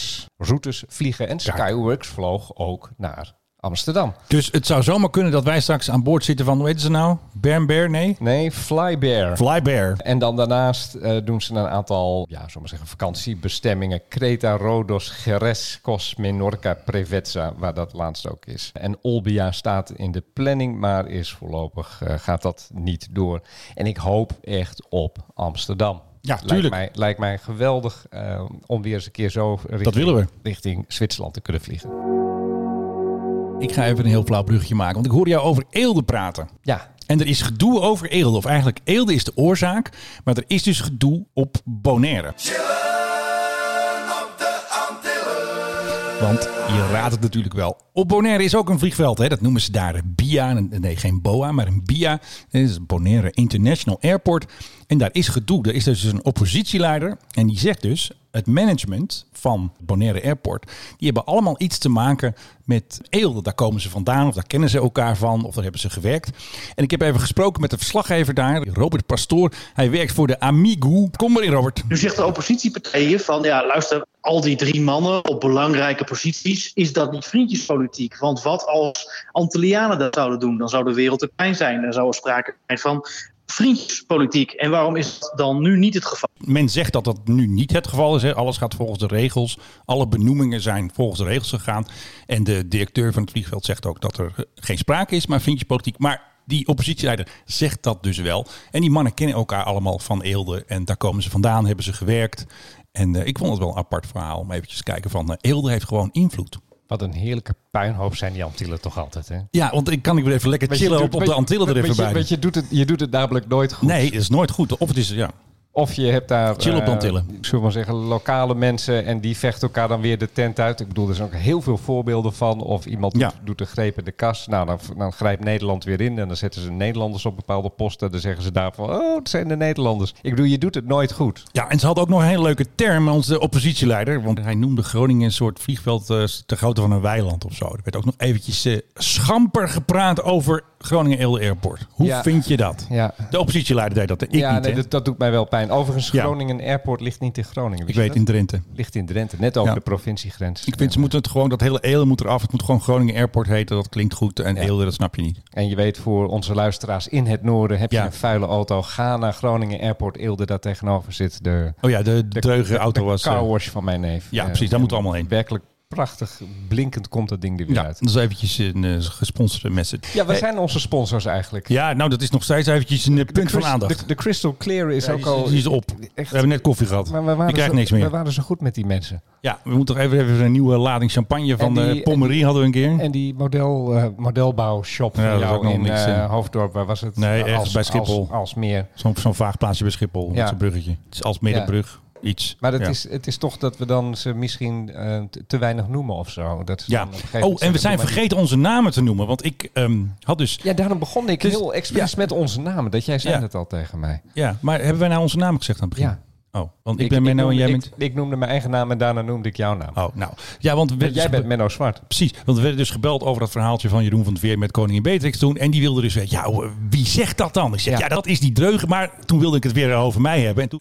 [SPEAKER 2] Skyworks-routes vliegen. En Skyworks vloog ook naar Amsterdam.
[SPEAKER 1] Dus het zou zomaar kunnen dat wij straks aan boord zitten van, hoe heet ze nou? Bern Bear? Nee?
[SPEAKER 2] Nee, Flybear.
[SPEAKER 1] Fly Bear.
[SPEAKER 2] En dan daarnaast eh, doen ze een aantal, ja, zullen we zeggen, vakantiebestemmingen. Creta, Rodos, Geres, Kos, Menorca, Prevetsa, waar dat laatst ook is. En Olbia staat in de planning, maar is voorlopig, eh, gaat dat niet door. En ik hoop echt op Amsterdam.
[SPEAKER 1] Ja,
[SPEAKER 2] lijkt
[SPEAKER 1] tuurlijk.
[SPEAKER 2] Mij, lijkt mij geweldig eh, om weer eens een keer zo richting,
[SPEAKER 1] willen we.
[SPEAKER 2] richting Zwitserland te kunnen vliegen.
[SPEAKER 1] Ik ga even een heel flauw brugje maken. Want ik hoorde jou over eelde praten.
[SPEAKER 2] Ja,
[SPEAKER 1] En er is gedoe over eelde. Of eigenlijk, eelde is de oorzaak. Maar er is dus gedoe op Bonaire. Want je raadt het natuurlijk wel. Op Bonaire is ook een vliegveld. Hè? Dat noemen ze daar een BIA. Een- Nee, geen BOA, maar een BIA. Dit is het Bonaire International Airport. En daar is gedoe. Er is dus een oppositieleider. En die zegt dus... Het management van Bonaire Airport... die hebben allemaal iets te maken met eelde. Daar komen ze vandaan of daar kennen ze elkaar van... of daar hebben ze gewerkt. En ik heb even gesproken met de verslaggever daar, Robert Pastoor. Hij werkt voor de Amigo. Kom maar in, Robert.
[SPEAKER 7] Nu zegt de oppositiepartijen van ja, luister, al die drie mannen op belangrijke posities, is dat niet vriendjespolitiek? Want wat als Antillianen dat zouden doen? Dan zou de wereld te klein zijn. Dan zou er sprake zijn van vriendjespolitiek. En waarom is dat dan nu niet het geval?
[SPEAKER 1] Men zegt dat dat nu niet het geval is. Hè. Alles gaat volgens de regels. Alle benoemingen zijn volgens de regels gegaan. En de directeur van het vliegveld zegt ook dat er eh, geen sprake is, maar vriendjespolitiek. Maar die oppositieleider zegt dat dus wel. En die mannen kennen elkaar allemaal van Eelde. En daar komen ze vandaan, hebben ze gewerkt. En eh, ik vond het wel een apart verhaal om eventjes te kijken van... eh, Eelde heeft gewoon invloed.
[SPEAKER 2] Wat een heerlijke puinhoop zijn die Antillen toch altijd, hè?
[SPEAKER 1] Ja, want ik kan ik weer even lekker
[SPEAKER 2] Want je
[SPEAKER 1] chillen
[SPEAKER 2] doet-
[SPEAKER 1] op, op
[SPEAKER 2] want
[SPEAKER 1] de
[SPEAKER 2] je-
[SPEAKER 1] Antillen er
[SPEAKER 2] want
[SPEAKER 1] even
[SPEAKER 2] je-
[SPEAKER 1] bij.
[SPEAKER 2] want je, doet het, je doet het namelijk nooit goed.
[SPEAKER 1] Nee, dat is nooit goed. Of het is, ja,
[SPEAKER 2] Of je hebt daar...
[SPEAKER 1] Chill op
[SPEAKER 2] eh,
[SPEAKER 1] de Antillen.
[SPEAKER 2] ik zou maar zeggen, lokale mensen en die vechten elkaar dan weer de tent uit. Ik bedoel, er zijn ook heel veel voorbeelden van. Of iemand doet,
[SPEAKER 1] Ja.
[SPEAKER 2] doet een greep in de kas. Nou, dan, dan grijpt Nederland weer in. En dan zetten ze Nederlanders op bepaalde posten. Dan zeggen ze daarvan, oh, het zijn de Nederlanders. Ik bedoel, je doet het nooit goed.
[SPEAKER 1] Ja, en ze hadden ook nog een hele leuke term, onze oppositieleider. Want hij noemde Groningen een soort vliegveld eh, ter grootte van een weiland of zo. Er werd ook nog eventjes eh, schamper gepraat over Groningen Eelde Airport. Hoe
[SPEAKER 2] Ja.
[SPEAKER 1] vind je dat?
[SPEAKER 2] Ja.
[SPEAKER 1] De oppositieleider deed dat, eh, ik
[SPEAKER 2] ja,
[SPEAKER 1] niet.
[SPEAKER 2] nee,
[SPEAKER 1] hè?
[SPEAKER 2] dat, dat doet mij wel pijn. Overigens,
[SPEAKER 1] Ja.
[SPEAKER 2] Groningen Airport ligt niet in Groningen.
[SPEAKER 1] ik
[SPEAKER 2] wist je
[SPEAKER 1] weet
[SPEAKER 2] dat?
[SPEAKER 1] in Drenthe.
[SPEAKER 2] Ligt in Drenthe, net over
[SPEAKER 1] Ja.
[SPEAKER 2] de provinciegrens.
[SPEAKER 1] Ik vind ze moeten het gewoon, dat hele Eelde moet eraf. Het moet gewoon Groningen Airport heten, dat klinkt goed. En Eelde, dat snap je niet.
[SPEAKER 2] En je weet, voor onze luisteraars in het noorden heb je
[SPEAKER 1] Ja.
[SPEAKER 2] een vuile auto. Ga naar Groningen Airport, Eelde, daar tegenover zit de,
[SPEAKER 1] Oh ja, de,
[SPEAKER 2] de
[SPEAKER 1] dreuge auto
[SPEAKER 2] de
[SPEAKER 1] was... eh,
[SPEAKER 2] car wash van mijn neef.
[SPEAKER 1] ja,
[SPEAKER 2] Eh,
[SPEAKER 1] precies, daar moeten we allemaal heen.
[SPEAKER 2] Werkelijk prachtig, blinkend komt dat ding er weer
[SPEAKER 1] ja,
[SPEAKER 2] uit.
[SPEAKER 1] dat is eventjes een eh, gesponsorde message.
[SPEAKER 2] Ja, wat zijn onze sponsors eigenlijk?
[SPEAKER 1] Ja, nou, dat is nog steeds eventjes een eh, punt van
[SPEAKER 2] Chris-
[SPEAKER 1] aandacht.
[SPEAKER 2] De, de Crystal Clear is ook al...
[SPEAKER 1] Die is op.
[SPEAKER 2] Echt.
[SPEAKER 1] We hebben net koffie gehad.
[SPEAKER 2] Maar we
[SPEAKER 1] Je
[SPEAKER 2] waren,
[SPEAKER 1] krijgt
[SPEAKER 2] zo,
[SPEAKER 1] niks meer.
[SPEAKER 2] we waren zo goed met die mensen.
[SPEAKER 1] Ja, we moeten toch even, even een nieuwe lading champagne van
[SPEAKER 2] En die-
[SPEAKER 1] de Pommerie hadden we een keer.
[SPEAKER 2] En die model, eh, modelbouwshop
[SPEAKER 1] Ja,
[SPEAKER 2] van
[SPEAKER 1] dat is ook
[SPEAKER 2] jou
[SPEAKER 1] nog
[SPEAKER 2] in
[SPEAKER 1] niks, hè?
[SPEAKER 2] eh, Hoofddorp, waar was het?
[SPEAKER 1] Nee,
[SPEAKER 2] Eh,
[SPEAKER 1] ergens bij Schiphol.
[SPEAKER 2] Als, als meer.
[SPEAKER 1] Zo'n zo'n vaag plaatsje bij Schiphol,
[SPEAKER 2] Ja.
[SPEAKER 1] met zo'n bruggetje. Het is als middenbrug, iets.
[SPEAKER 2] Maar het,
[SPEAKER 1] Ja.
[SPEAKER 2] is, het is toch dat we dan ze misschien eh, te- te weinig noemen of zo. Dat ze
[SPEAKER 1] Ja.
[SPEAKER 2] dan op een gegeven moment
[SPEAKER 1] Oh, en we
[SPEAKER 2] zeggen,
[SPEAKER 1] zijn
[SPEAKER 2] doe maar
[SPEAKER 1] vergeten onze namen te noemen. Want ik ehm, had dus...
[SPEAKER 2] niet. Ja, daarom begon ik
[SPEAKER 1] Dus-
[SPEAKER 2] heel expres met onze namen. Dat jij zei
[SPEAKER 1] Ja.
[SPEAKER 2] het al tegen mij.
[SPEAKER 1] Ja, maar hebben wij nou onze namen gezegd aan het begin?
[SPEAKER 2] Ja.
[SPEAKER 1] Oh, want ik, ben Menno en
[SPEAKER 2] noemde,
[SPEAKER 1] jij
[SPEAKER 2] ik,
[SPEAKER 1] bent...
[SPEAKER 2] ik noemde mijn eigen naam en daarna noemde ik jouw naam.
[SPEAKER 1] Oh, nou. Ja, want we
[SPEAKER 2] Want
[SPEAKER 1] werden
[SPEAKER 2] jij
[SPEAKER 1] dus-
[SPEAKER 2] bent Menno Zwart.
[SPEAKER 1] Precies, want we werden dus gebeld over dat verhaaltje van Jeroen van het Veer met koningin Beatrix toen. En die wilde dus weten, ja, wie zegt dat dan? Ik zeg,
[SPEAKER 2] Ja.
[SPEAKER 1] ja, dat is die dreugen. Maar toen wilde ik het weer over mij hebben. En toen,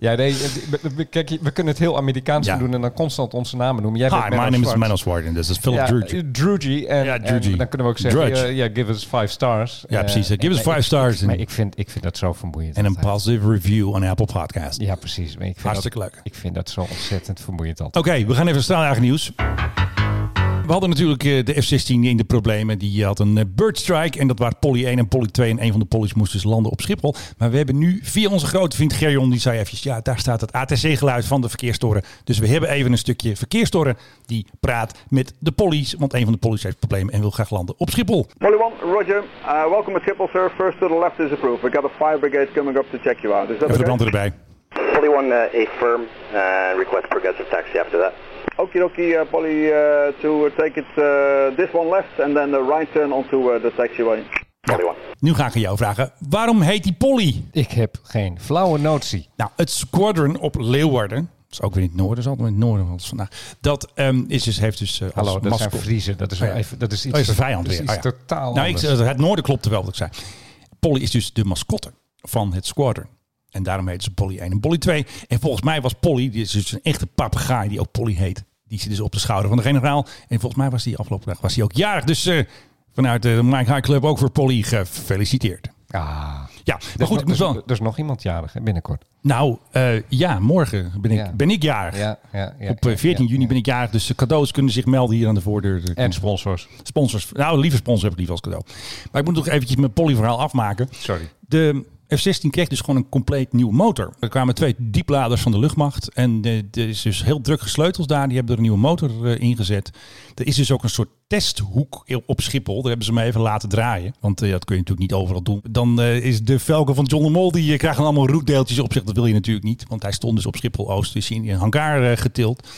[SPEAKER 2] Ja, nee, we- we- we- kijk, we kunnen het heel Amerikaans
[SPEAKER 1] Ja.
[SPEAKER 2] gaan doen en dan constant onze namen noemen. Jij bent
[SPEAKER 1] hi, my
[SPEAKER 2] Menno
[SPEAKER 1] name is
[SPEAKER 2] Zwart.
[SPEAKER 1] Menno Zwart en dit is Philip
[SPEAKER 2] ja,
[SPEAKER 1] Drudge.
[SPEAKER 2] eh, Drugy. En,
[SPEAKER 1] Ja,
[SPEAKER 2] en
[SPEAKER 1] Drugy.
[SPEAKER 2] dan kunnen we ook zeggen, eh,
[SPEAKER 1] Drudge.
[SPEAKER 2] ja, give us five stars.
[SPEAKER 1] Ja,
[SPEAKER 2] Eh,
[SPEAKER 1] precies. eh, Give us
[SPEAKER 2] maar
[SPEAKER 1] five
[SPEAKER 2] ik-
[SPEAKER 1] stars.
[SPEAKER 2] Maar
[SPEAKER 1] En
[SPEAKER 2] ik vind, ik vind dat zo vermoeiend.
[SPEAKER 1] en een
[SPEAKER 2] altijd.
[SPEAKER 1] positive review on Apple Podcast.
[SPEAKER 2] Ja, precies. Maar ik vind
[SPEAKER 1] Hartstikke
[SPEAKER 2] dat-
[SPEAKER 1] leuk.
[SPEAKER 2] Ik vind dat zo ontzettend vermoeiend altijd.
[SPEAKER 1] Oké, we gaan even snel naar eigen nieuws. We hadden natuurlijk eh, de F-16 in de problemen. Die had een eh, bird strike. En dat waren Polly 1 en Polly 2. En een van de pollies moest dus landen op Schiphol. Maar we hebben nu via onze grote vriend Gerjon. Die zei eventjes, ja daar staat het ATC-geluid van de verkeerstoren. Dus we hebben even een stukje verkeerstoren. Die praat met de pollies. Want een van de pollies heeft problemen en wil graag landen op Schiphol.
[SPEAKER 8] Polly 1, roger. Uh, welcome at Schiphol, sir. First to the left is approved. We've got a fire brigade coming up to check you out. Is that
[SPEAKER 1] Even de
[SPEAKER 8] okay?
[SPEAKER 1] brand erbij.
[SPEAKER 9] Polly one uh, a firm uh, request progressive taxi after that.
[SPEAKER 8] Okie dokie, uh, Polly uh, to uh, take it uh, this one left and then the right turn onto uh, the taxiway.
[SPEAKER 9] Polly one.
[SPEAKER 1] Nu ga ik aan jou vragen. Waarom heet die polly?
[SPEAKER 2] Ik heb geen flauwe notie.
[SPEAKER 1] Nou, het squadron op Leeuwarden. Dat is ook weer in het noorden. Dat is altijd in het noorden want het is vandaag. Dat ehm, is dus, heeft dus eh, als
[SPEAKER 2] Hallo, dat zijn
[SPEAKER 1] mascot-
[SPEAKER 2] Vriezen. Dat is,
[SPEAKER 1] Oh ja.
[SPEAKER 2] even, dat is iets,
[SPEAKER 1] Oh, is de vijand
[SPEAKER 2] dat is
[SPEAKER 1] weer.
[SPEAKER 2] iets
[SPEAKER 1] Oh ja.
[SPEAKER 2] totaal
[SPEAKER 1] nou, ik,
[SPEAKER 2] anders.
[SPEAKER 1] het noorden klopte wel wat ik zei. Polly is dus de mascotte van het squadron. En daarom heet ze Polly 1 en Polly 2. En volgens mij was Polly, die is dus een echte papegaai die ook Polly heet. Die zit dus op de schouder van de generaal. En volgens mij was die afgelopen dag was die ook jarig. Dus eh, vanuit de Mike High Club ook voor Polly gefeliciteerd.
[SPEAKER 2] ah,
[SPEAKER 1] Ja, eh, maar
[SPEAKER 2] er is
[SPEAKER 1] goed,
[SPEAKER 2] nog-
[SPEAKER 1] ik moet
[SPEAKER 2] er is-
[SPEAKER 1] wel...
[SPEAKER 2] Er is nog iemand jarig hè, binnenkort.
[SPEAKER 1] Nou, eh, ja, morgen ben ik,
[SPEAKER 2] Ja.
[SPEAKER 1] ben ik jarig.
[SPEAKER 2] Ja, ja, ja,
[SPEAKER 1] Op eh, 14
[SPEAKER 2] ja,
[SPEAKER 1] juni
[SPEAKER 2] ja.
[SPEAKER 1] ben ik jarig, dus de cadeaus kunnen zich melden hier aan de voordeur.
[SPEAKER 2] En sponsors.
[SPEAKER 1] sponsors. Nou, liever sponsor heb ik liever als cadeau. Maar ik moet nog eventjes mijn Polly-verhaal afmaken.
[SPEAKER 2] Sorry.
[SPEAKER 1] De F-16 kreeg dus gewoon een compleet nieuwe motor. Er kwamen twee diepladers van de luchtmacht. En eh, er is dus heel druk gesleuteld daar. Die hebben er een nieuwe motor eh, in gezet. Er is dus ook een soort testhoek op Schiphol. Daar hebben ze me even laten draaien. Want eh, dat kun je natuurlijk niet overal doen. Dan eh, is de Falcon van John de Mol... die eh, krijgt dan allemaal roetdeeltjes op zich. Dat wil je natuurlijk niet. Want hij stond dus op Schiphol-Oost. Dus in een hangar eh, getild.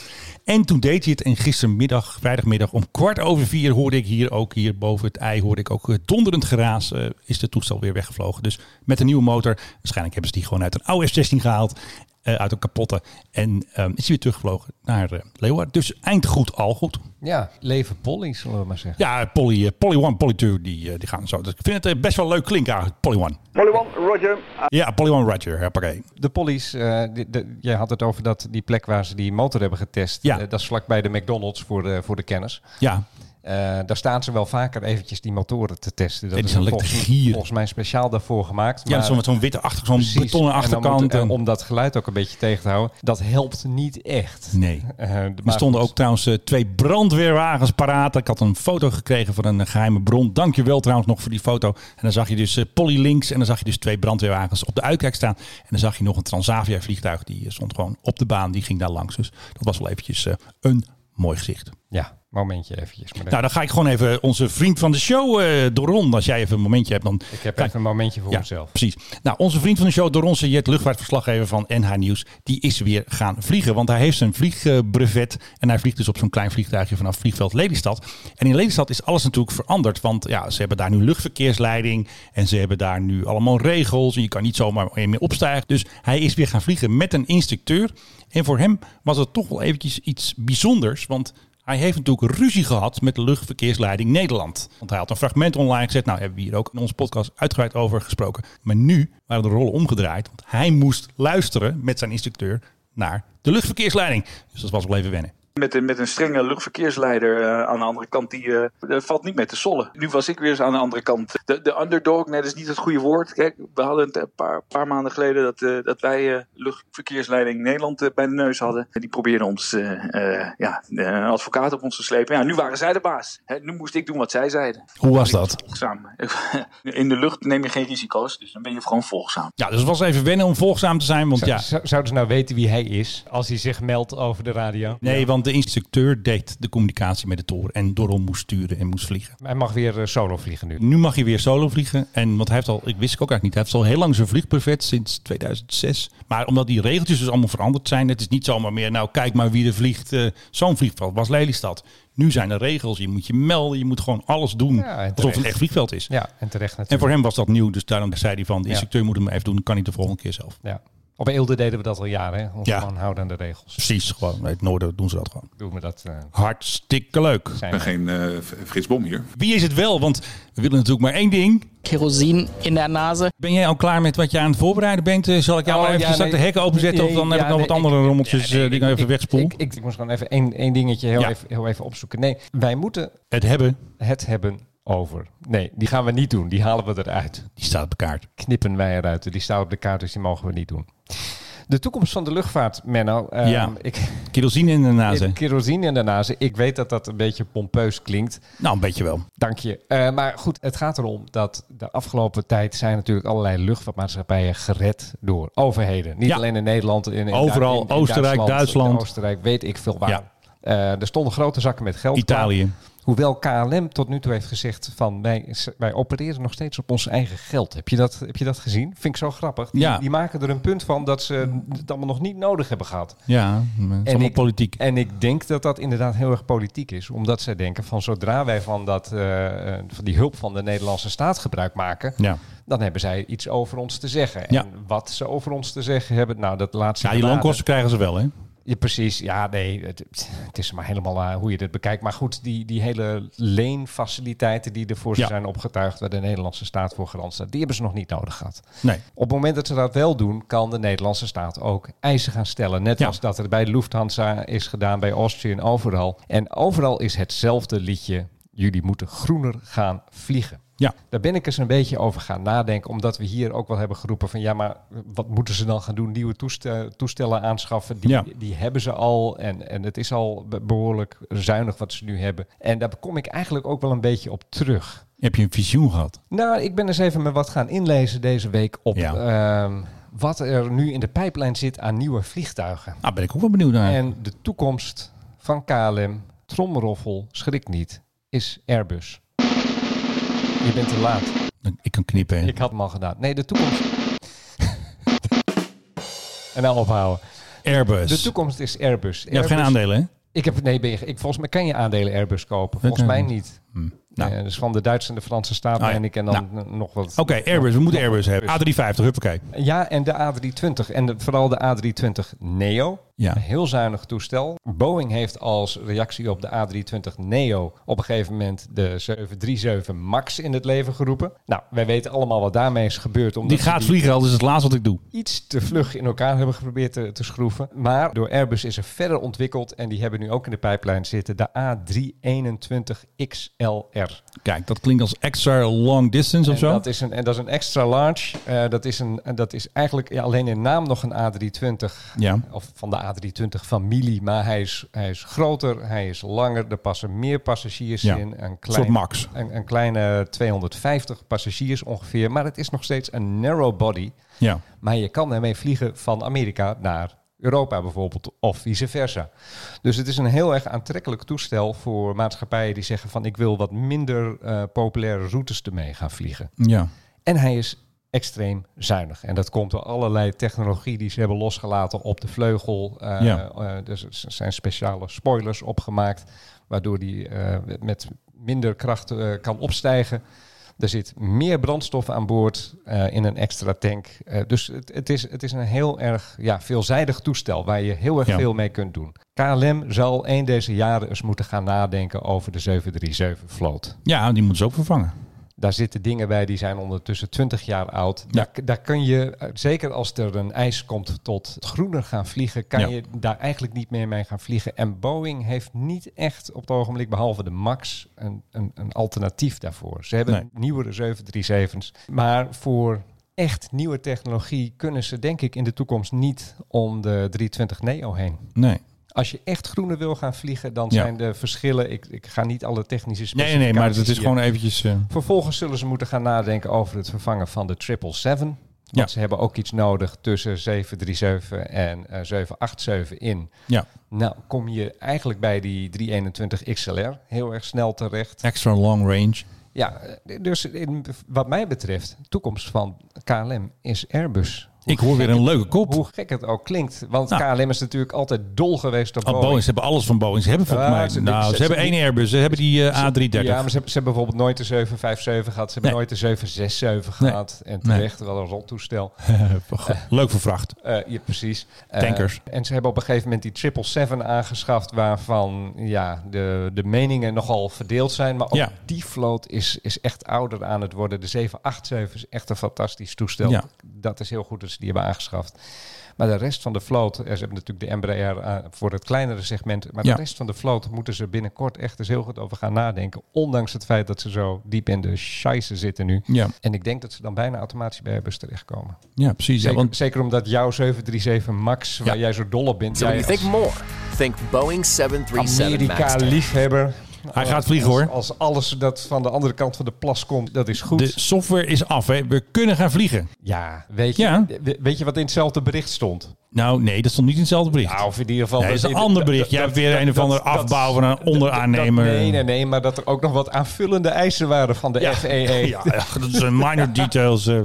[SPEAKER 1] En toen deed hij het. En gistermiddag, vrijdagmiddag om kwart over vier hoorde ik hier ook, hier boven het ei, hoorde ik ook eh, donderend geraas. eh, is de toestel weer weggevlogen. Dus met een nieuwe motor. Waarschijnlijk hebben ze die gewoon uit een oude F-16 gehaald. eh, uit een kapotte. En ehm, is hij weer teruggevlogen naar eh, Leeuwarden. Dus eind goed, al goed.
[SPEAKER 2] Ja, leven Polly, zullen we maar zeggen.
[SPEAKER 1] Ja, Polly, eh, Polly One, Polly Two, die, eh, die gaan zo. Dus ik vind het eh, best wel leuk klinken eigenlijk, Polly One.
[SPEAKER 8] Polly 1, roger. Uh,
[SPEAKER 1] Ja, Polly One Roger, hoppakee.
[SPEAKER 2] De pollies, eh, die- de- jij had het over dat die plek waar ze die motor hebben getest.
[SPEAKER 1] Ja.
[SPEAKER 2] eh, dat is vlakbij de McDonald's voor de, voor de kennis.
[SPEAKER 1] Ja,
[SPEAKER 2] Eh, daar staan ze wel vaker eventjes die motoren te testen.
[SPEAKER 1] Ja, die
[SPEAKER 2] is
[SPEAKER 1] zijn lekker
[SPEAKER 2] volgens,
[SPEAKER 1] te gieren.
[SPEAKER 2] volgens mij speciaal daarvoor gemaakt.
[SPEAKER 1] Ja,
[SPEAKER 2] maar-
[SPEAKER 1] zo met zo'n witte achter, zo'n
[SPEAKER 2] Precies.
[SPEAKER 1] betonnen
[SPEAKER 2] En dan
[SPEAKER 1] achterkant.
[SPEAKER 2] moet- en
[SPEAKER 1] en-
[SPEAKER 2] om dat geluid ook een beetje tegen te houden. Dat helpt niet echt.
[SPEAKER 1] Nee.
[SPEAKER 2] Eh,
[SPEAKER 1] Er
[SPEAKER 2] maar
[SPEAKER 1] stonden
[SPEAKER 2] goed.
[SPEAKER 1] ook trouwens eh, twee brandweerwagens paraat. Ik had een foto gekregen van een eh, geheime bron. Dank je wel trouwens nog voor die foto. En dan zag je dus eh, Polly links en dan zag je dus twee brandweerwagens op de uitkijk staan. En dan zag je nog een Transavia vliegtuig. Die eh, stond gewoon op de baan. Die ging daar langs. Dus dat was wel eventjes eh, een mooi gezicht.
[SPEAKER 2] Ja, momentje eventjes. Maar
[SPEAKER 1] Nou, dan ga ik gewoon even onze vriend van de show, eh Doron. Als jij even een momentje hebt, dan
[SPEAKER 2] ik heb
[SPEAKER 1] kijk-
[SPEAKER 2] even een momentje voor mezelf.
[SPEAKER 1] Precies. Nou, onze vriend van de show, Doron Jet, luchtvaartverslaggever van NH Nieuws, die is weer gaan vliegen. Want hij heeft zijn vliegbrevet en hij vliegt dus op zo'n klein vliegtuigje vanaf vliegveld Lelystad. En in Lelystad is alles natuurlijk veranderd, want ja, ze hebben daar nu luchtverkeersleiding en ze hebben daar nu allemaal regels en je kan niet zomaar meer opstijgen. Dus hij is weer gaan vliegen met een instructeur. En voor hem was het toch wel eventjes iets bijzonders, want hij heeft natuurlijk ruzie gehad met de luchtverkeersleiding Nederland. Want hij had een fragment online gezet. Nou, hebben we hier ook in onze podcast uitgebreid over gesproken. Maar nu waren de rollen omgedraaid. Want hij moest luisteren met zijn instructeur naar de luchtverkeersleiding. Dus dat was wel even wennen.
[SPEAKER 10] Met een, met een strenge luchtverkeersleider eh, aan de andere kant, die eh, er valt niet mee te sollen. Nu was ik weer eens aan de andere kant. De, de underdog, nee, dat is niet het goede woord. Kijk, we hadden het een paar, paar maanden geleden dat, eh, dat wij eh, luchtverkeersleiding Nederland eh, bij de neus hadden. En die probeerden ons, eh eh, ja, eh, advocaat op ons te slepen. Ja, nu waren zij de baas. Hè, nu moest ik doen wat zij zeiden.
[SPEAKER 1] Hoe was
[SPEAKER 10] Ik
[SPEAKER 1] dat?
[SPEAKER 10] Volgzaam. In de lucht neem je geen risico's, dus dan ben je gewoon volgzaam.
[SPEAKER 1] Ja, dus het was even wennen om volgzaam te zijn. Want
[SPEAKER 2] Zou-
[SPEAKER 1] ja,
[SPEAKER 2] zou- Zouden ze nou weten wie hij is als hij zich meldt over de radio?
[SPEAKER 1] nee, want de instructeur deed de communicatie met de toren. En Doron moest sturen en moest vliegen.
[SPEAKER 2] Hij mag weer eh, solo vliegen nu.
[SPEAKER 1] Nu mag hij weer solo vliegen. En want hij heeft al, ik wist ik ook eigenlijk niet, hij heeft al heel lang zijn vliegprivet sinds 2006. Maar omdat die regeltjes dus allemaal veranderd zijn, het is niet zomaar meer, nou kijk maar wie er vliegt. eh, Zo'n vliegveld was Lelystad. Nu zijn er regels, je moet je melden, je moet gewoon alles doen
[SPEAKER 2] Ja, en
[SPEAKER 1] alsof
[SPEAKER 2] terecht.
[SPEAKER 1] het een echt vliegveld is.
[SPEAKER 2] Ja, en terecht
[SPEAKER 1] En
[SPEAKER 2] natuurlijk.
[SPEAKER 1] voor hem was dat nieuw, dus daarom zei hij van, de
[SPEAKER 2] Ja.
[SPEAKER 1] instructeur moet hem even doen, kan hij de volgende keer zelf.
[SPEAKER 2] Ja. Op Eelde deden we dat al jaren. Hè? Ons
[SPEAKER 1] Ja.
[SPEAKER 2] gewoon houden aan de regels.
[SPEAKER 1] Precies, gewoon, in het noorden doen ze dat gewoon.
[SPEAKER 2] Doen we dat. eh,
[SPEAKER 1] Hartstikke leuk.
[SPEAKER 5] Ik ben geen eh, Frits Bom hier.
[SPEAKER 1] Wie is het wel? Want we willen natuurlijk maar één ding.
[SPEAKER 11] Kerosin in der Nase.
[SPEAKER 1] Ben jij al klaar met wat je aan het voorbereiden bent? Eh, Zal ik jou
[SPEAKER 2] Oh,
[SPEAKER 1] maar even
[SPEAKER 2] ja,
[SPEAKER 1] straks
[SPEAKER 2] nee.
[SPEAKER 1] de hekken openzetten? of
[SPEAKER 2] Nee,
[SPEAKER 1] dan heb
[SPEAKER 2] ja,
[SPEAKER 1] ik nog wat
[SPEAKER 2] nee,
[SPEAKER 1] andere rommeltjes
[SPEAKER 2] ja, nee,
[SPEAKER 1] eh, die ik nog even wegspoel?
[SPEAKER 2] Ik, ik, ik moest gewoon even één, één dingetje heel,
[SPEAKER 1] Ja.
[SPEAKER 2] even, heel even opzoeken. Nee, wij moeten
[SPEAKER 1] het hebben,
[SPEAKER 2] het hebben over. Nee, die gaan we niet doen. Die halen we eruit.
[SPEAKER 1] die staat op de kaart.
[SPEAKER 2] Knippen wij eruit. Die staan op de kaart, dus die mogen we niet doen. De toekomst van de luchtvaart, Menno. Ehm,
[SPEAKER 1] Ja.
[SPEAKER 2] Ik,
[SPEAKER 1] Kerosine in de nazen.
[SPEAKER 2] kerosine en daarnaast. Ik weet dat dat een beetje pompeus klinkt.
[SPEAKER 1] Nou, een beetje wel.
[SPEAKER 2] Dank je. Eh, maar goed, het gaat erom dat de afgelopen tijd zijn natuurlijk allerlei luchtvaartmaatschappijen gered door overheden. Niet
[SPEAKER 1] Ja.
[SPEAKER 2] alleen in Nederland, in, in
[SPEAKER 1] Overal,
[SPEAKER 2] in- in
[SPEAKER 1] Oostenrijk, Duitsland.
[SPEAKER 2] Oostenrijk, weet ik veel waar.
[SPEAKER 1] Ja.
[SPEAKER 2] Eh, er stonden grote zakken met geld. klaar.
[SPEAKER 1] Italië.
[SPEAKER 2] Hoewel KLM tot nu toe heeft gezegd van wij, wij opereren nog steeds op ons eigen geld. Heb je dat, heb je dat gezien? Vind ik zo grappig. Die,
[SPEAKER 1] Ja.
[SPEAKER 2] die maken er een punt van dat ze het allemaal nog niet nodig hebben gehad.
[SPEAKER 1] Ja, het is allemaal
[SPEAKER 2] ik-
[SPEAKER 1] politiek.
[SPEAKER 2] En ik denk dat dat inderdaad heel erg politiek is. Omdat zij denken van zodra wij van, dat, eh, eh, van die hulp van de Nederlandse staat gebruik maken...
[SPEAKER 1] Ja.
[SPEAKER 2] dan hebben zij iets over ons te zeggen.
[SPEAKER 1] Ja.
[SPEAKER 2] En wat ze over ons te zeggen hebben, nou dat laat ze
[SPEAKER 1] ja, die
[SPEAKER 2] beladen.
[SPEAKER 1] loonkosten krijgen ze wel, hè?
[SPEAKER 2] Ja, precies. Ja, nee, het, het is maar helemaal eh, hoe je dit bekijkt. Maar goed, die, die hele leenfaciliteiten die ervoor ze
[SPEAKER 1] Ja.
[SPEAKER 2] zijn opgetuigd... waar de Nederlandse staat voor garant staat, die hebben ze nog niet nodig gehad.
[SPEAKER 1] Nee.
[SPEAKER 2] Op het moment dat ze dat wel doen, kan de Nederlandse staat ook eisen gaan stellen. Net
[SPEAKER 1] Ja.
[SPEAKER 2] als dat er bij Lufthansa is gedaan, bij Austrian, overal. En overal is hetzelfde liedje. Jullie moeten groener gaan vliegen.
[SPEAKER 1] Ja.
[SPEAKER 2] Daar ben ik eens een beetje over gaan nadenken, omdat we hier ook wel hebben geroepen van ja, maar wat moeten ze dan gaan doen? Nieuwe toestellen, toestellen aanschaffen, die,
[SPEAKER 1] Ja.
[SPEAKER 2] die hebben ze al en, en het is al be- behoorlijk zuinig wat ze nu hebben. En daar kom ik eigenlijk ook wel een beetje op terug.
[SPEAKER 1] Heb je een visioen gehad?
[SPEAKER 2] Nou, ik ben eens even me wat gaan inlezen deze week op
[SPEAKER 1] Ja.
[SPEAKER 2] ehm, wat er nu in de pijplijn zit aan nieuwe vliegtuigen.
[SPEAKER 1] Nou, ben ik ook wel benieuwd naar.
[SPEAKER 2] En de toekomst van KLM, trommeroffel, schrik niet, is Airbus. Je bent te laat.
[SPEAKER 1] Ik kan knippen. hè?
[SPEAKER 2] Ik had hem al gedaan. Nee, de toekomst. en nou ophouden.
[SPEAKER 1] Airbus.
[SPEAKER 2] De toekomst is Airbus.
[SPEAKER 1] je hebt geen
[SPEAKER 2] Airbus-
[SPEAKER 1] aandelen, hè?
[SPEAKER 2] Ik heb, nee, ben je, ik, volgens mij kan je aandelen Airbus kopen.
[SPEAKER 1] Dat
[SPEAKER 2] Volgens mij
[SPEAKER 1] kan
[SPEAKER 2] niet.
[SPEAKER 1] Nou.
[SPEAKER 2] Eh, dus van de Duitse en de Franse staat
[SPEAKER 1] Ah, ja.
[SPEAKER 2] en ik en dan n- nog wat.
[SPEAKER 1] Oké, Airbus. We moeten Airbus hebben. A350, huppakee.
[SPEAKER 2] Ja, en de A320. En de- vooral de A320 Neo.
[SPEAKER 1] Ja.
[SPEAKER 2] Een heel zuinig toestel. Boeing heeft als reactie op de A320 Neo op een gegeven moment de 737 MAX in het leven geroepen. Nou, wij weten allemaal wat daarmee is gebeurd. Omdat
[SPEAKER 1] Die
[SPEAKER 2] ze
[SPEAKER 1] gaat vliegen, dat is het laatste wat ik doe.
[SPEAKER 2] iets te vlug in elkaar hebben geprobeerd te, te schroeven. Maar door Airbus is er verder ontwikkeld en die hebben nu ook in de pijplijn zitten de A321 XLR.
[SPEAKER 1] Kijk, dat klinkt als extra long distance of
[SPEAKER 2] En
[SPEAKER 1] zo.
[SPEAKER 2] dat is een, en dat is een extra large. Eh, dat, is een, en dat is eigenlijk ja, alleen in naam nog een A320.
[SPEAKER 1] Ja.
[SPEAKER 2] Of van de A320-familie. Maar hij is, hij is groter, hij is langer. Er passen meer passagiers
[SPEAKER 1] Ja,
[SPEAKER 2] in. Een
[SPEAKER 1] soort max.
[SPEAKER 2] Een, een kleine 250 passagiers ongeveer. Maar het is nog steeds een narrow body.
[SPEAKER 1] Ja.
[SPEAKER 2] Maar je kan ermee vliegen van Amerika naar Europa bijvoorbeeld, of vice versa. Dus het is een heel erg aantrekkelijk toestel voor maatschappijen die zeggen van ik wil wat minder eh, populaire routes ermee gaan vliegen.
[SPEAKER 1] Ja.
[SPEAKER 2] En hij is extreem zuinig. En dat komt door allerlei technologie die ze hebben losgelaten op de vleugel. Eh,
[SPEAKER 1] Ja.
[SPEAKER 2] eh, dus er zijn speciale spoilers opgemaakt, waardoor die eh, met minder kracht eh, kan opstijgen. Er zit meer brandstof aan boord eh, in een extra tank. Eh, dus het, het, is, het is een heel erg ja, veelzijdig toestel waar je heel erg
[SPEAKER 1] Ja.
[SPEAKER 2] veel mee kunt doen. KLM zal een deze jaren eens moeten gaan nadenken over de 737-vloot.
[SPEAKER 1] Ja, die moeten ze ook vervangen.
[SPEAKER 2] Daar zitten dingen bij die zijn ondertussen 20 jaar oud.
[SPEAKER 1] Ja.
[SPEAKER 2] Daar, daar kun je, eh, zeker als er een eis komt tot het groener gaan vliegen, kan
[SPEAKER 1] Ja.
[SPEAKER 2] je daar eigenlijk niet meer mee gaan vliegen. En Boeing heeft niet echt op het ogenblik, behalve de MAX, een, een, een alternatief daarvoor. Ze hebben
[SPEAKER 1] Nee.
[SPEAKER 2] nieuwere 737's. Maar voor echt nieuwe technologie kunnen ze denk ik in de toekomst niet om de 320 Neo heen.
[SPEAKER 1] Nee.
[SPEAKER 2] Als je echt groener wil gaan vliegen, dan
[SPEAKER 1] Ja.
[SPEAKER 2] zijn de verschillen... Ik, ik ga niet alle technische
[SPEAKER 1] Nee,
[SPEAKER 2] specificaties
[SPEAKER 1] nee, nee, maar het is
[SPEAKER 2] hier-
[SPEAKER 1] gewoon eventjes... eh,
[SPEAKER 2] Vervolgens zullen ze moeten gaan nadenken over het vervangen van de 777. Want
[SPEAKER 1] Ja.
[SPEAKER 2] ze hebben ook iets nodig tussen 737 en eh, 787 in.
[SPEAKER 1] ja,
[SPEAKER 2] Nou, kom je eigenlijk bij die 321 XLR heel erg snel terecht.
[SPEAKER 1] extra long range.
[SPEAKER 2] Ja, eh, dus in, wat mij betreft, de toekomst van KLM is Airbus.
[SPEAKER 1] Ik hoor weer een leuke kop.
[SPEAKER 2] Hoe gek het ook klinkt, want
[SPEAKER 1] Nou.
[SPEAKER 2] KLM is natuurlijk altijd dol geweest op
[SPEAKER 1] Ah, Boeing, ze hebben alles van Boeing. Ze hebben volgens
[SPEAKER 2] Ja,
[SPEAKER 1] mij...
[SPEAKER 2] ze-
[SPEAKER 1] nou,
[SPEAKER 2] ze-
[SPEAKER 1] ze,
[SPEAKER 2] ze-
[SPEAKER 1] hebben één Airbus. Ze hebben die eh, A330.
[SPEAKER 2] Ja, maar ze, hebben- ze hebben bijvoorbeeld nooit de 757 gehad. Ze hebben
[SPEAKER 1] Nee.
[SPEAKER 2] nooit de 767
[SPEAKER 1] Nee.
[SPEAKER 2] gehad. En terecht, wel een rot toestel.
[SPEAKER 1] Leuk vervracht.
[SPEAKER 2] Eh, ja, precies. Eh,
[SPEAKER 1] Tankers.
[SPEAKER 2] en ze hebben op een gegeven moment die 777 aangeschaft... waarvan ja, de, de meningen nogal verdeeld zijn. Maar ook
[SPEAKER 1] Ja.
[SPEAKER 2] die vloot is, is echt ouder aan het worden. De 787 is echt een fantastisch toestel.
[SPEAKER 1] Ja.
[SPEAKER 2] Dat is heel goed dat ze die hebben aangeschaft. Maar de rest van de vloot... eh, Ze hebben natuurlijk de Embraer eh, voor het kleinere segment. Maar
[SPEAKER 1] Ja.
[SPEAKER 2] de rest van de vloot moeten ze binnenkort echt eens heel goed over gaan nadenken. Ondanks het feit dat ze zo diep in de scheisse zitten nu.
[SPEAKER 1] Ja.
[SPEAKER 2] En ik denk dat ze dan bijna automatisch bij Airbus terechtkomen.
[SPEAKER 1] Ja, precies. Ja,
[SPEAKER 2] Zeker,
[SPEAKER 1] want
[SPEAKER 2] zeker omdat jouw 737 MAX, waar
[SPEAKER 1] Ja.
[SPEAKER 2] jij zo dol op bent,
[SPEAKER 12] So when
[SPEAKER 2] jij
[SPEAKER 12] you think
[SPEAKER 2] als
[SPEAKER 12] more, think Boeing 737 MAX 10.
[SPEAKER 2] Amerika-liefhebber...
[SPEAKER 1] Hij gaat vliegen,
[SPEAKER 2] als-
[SPEAKER 1] hoor.
[SPEAKER 2] Als alles dat van de andere kant van de plas komt, dat is goed.
[SPEAKER 1] de software is af. Hè. We kunnen gaan vliegen.
[SPEAKER 2] ja, weet je,
[SPEAKER 1] Ja.
[SPEAKER 2] we- weet je wat in hetzelfde bericht stond?
[SPEAKER 1] Nou, nee, dat stond niet in hetzelfde bericht.
[SPEAKER 2] Nou, of in ieder geval...
[SPEAKER 1] Nee, dat is
[SPEAKER 2] dat-
[SPEAKER 1] een ander
[SPEAKER 2] dat-
[SPEAKER 1] bericht. Jij
[SPEAKER 2] dat-
[SPEAKER 1] hebt weer
[SPEAKER 2] dat-
[SPEAKER 1] een of
[SPEAKER 2] dat-
[SPEAKER 1] andere
[SPEAKER 2] dat-
[SPEAKER 1] afbouw van een onderaannemer.
[SPEAKER 2] dat- nee, nee, nee, maar dat er ook nog wat aanvullende eisen waren van de E FAA.
[SPEAKER 1] Ja, ja, dat zijn minor details. eh. ik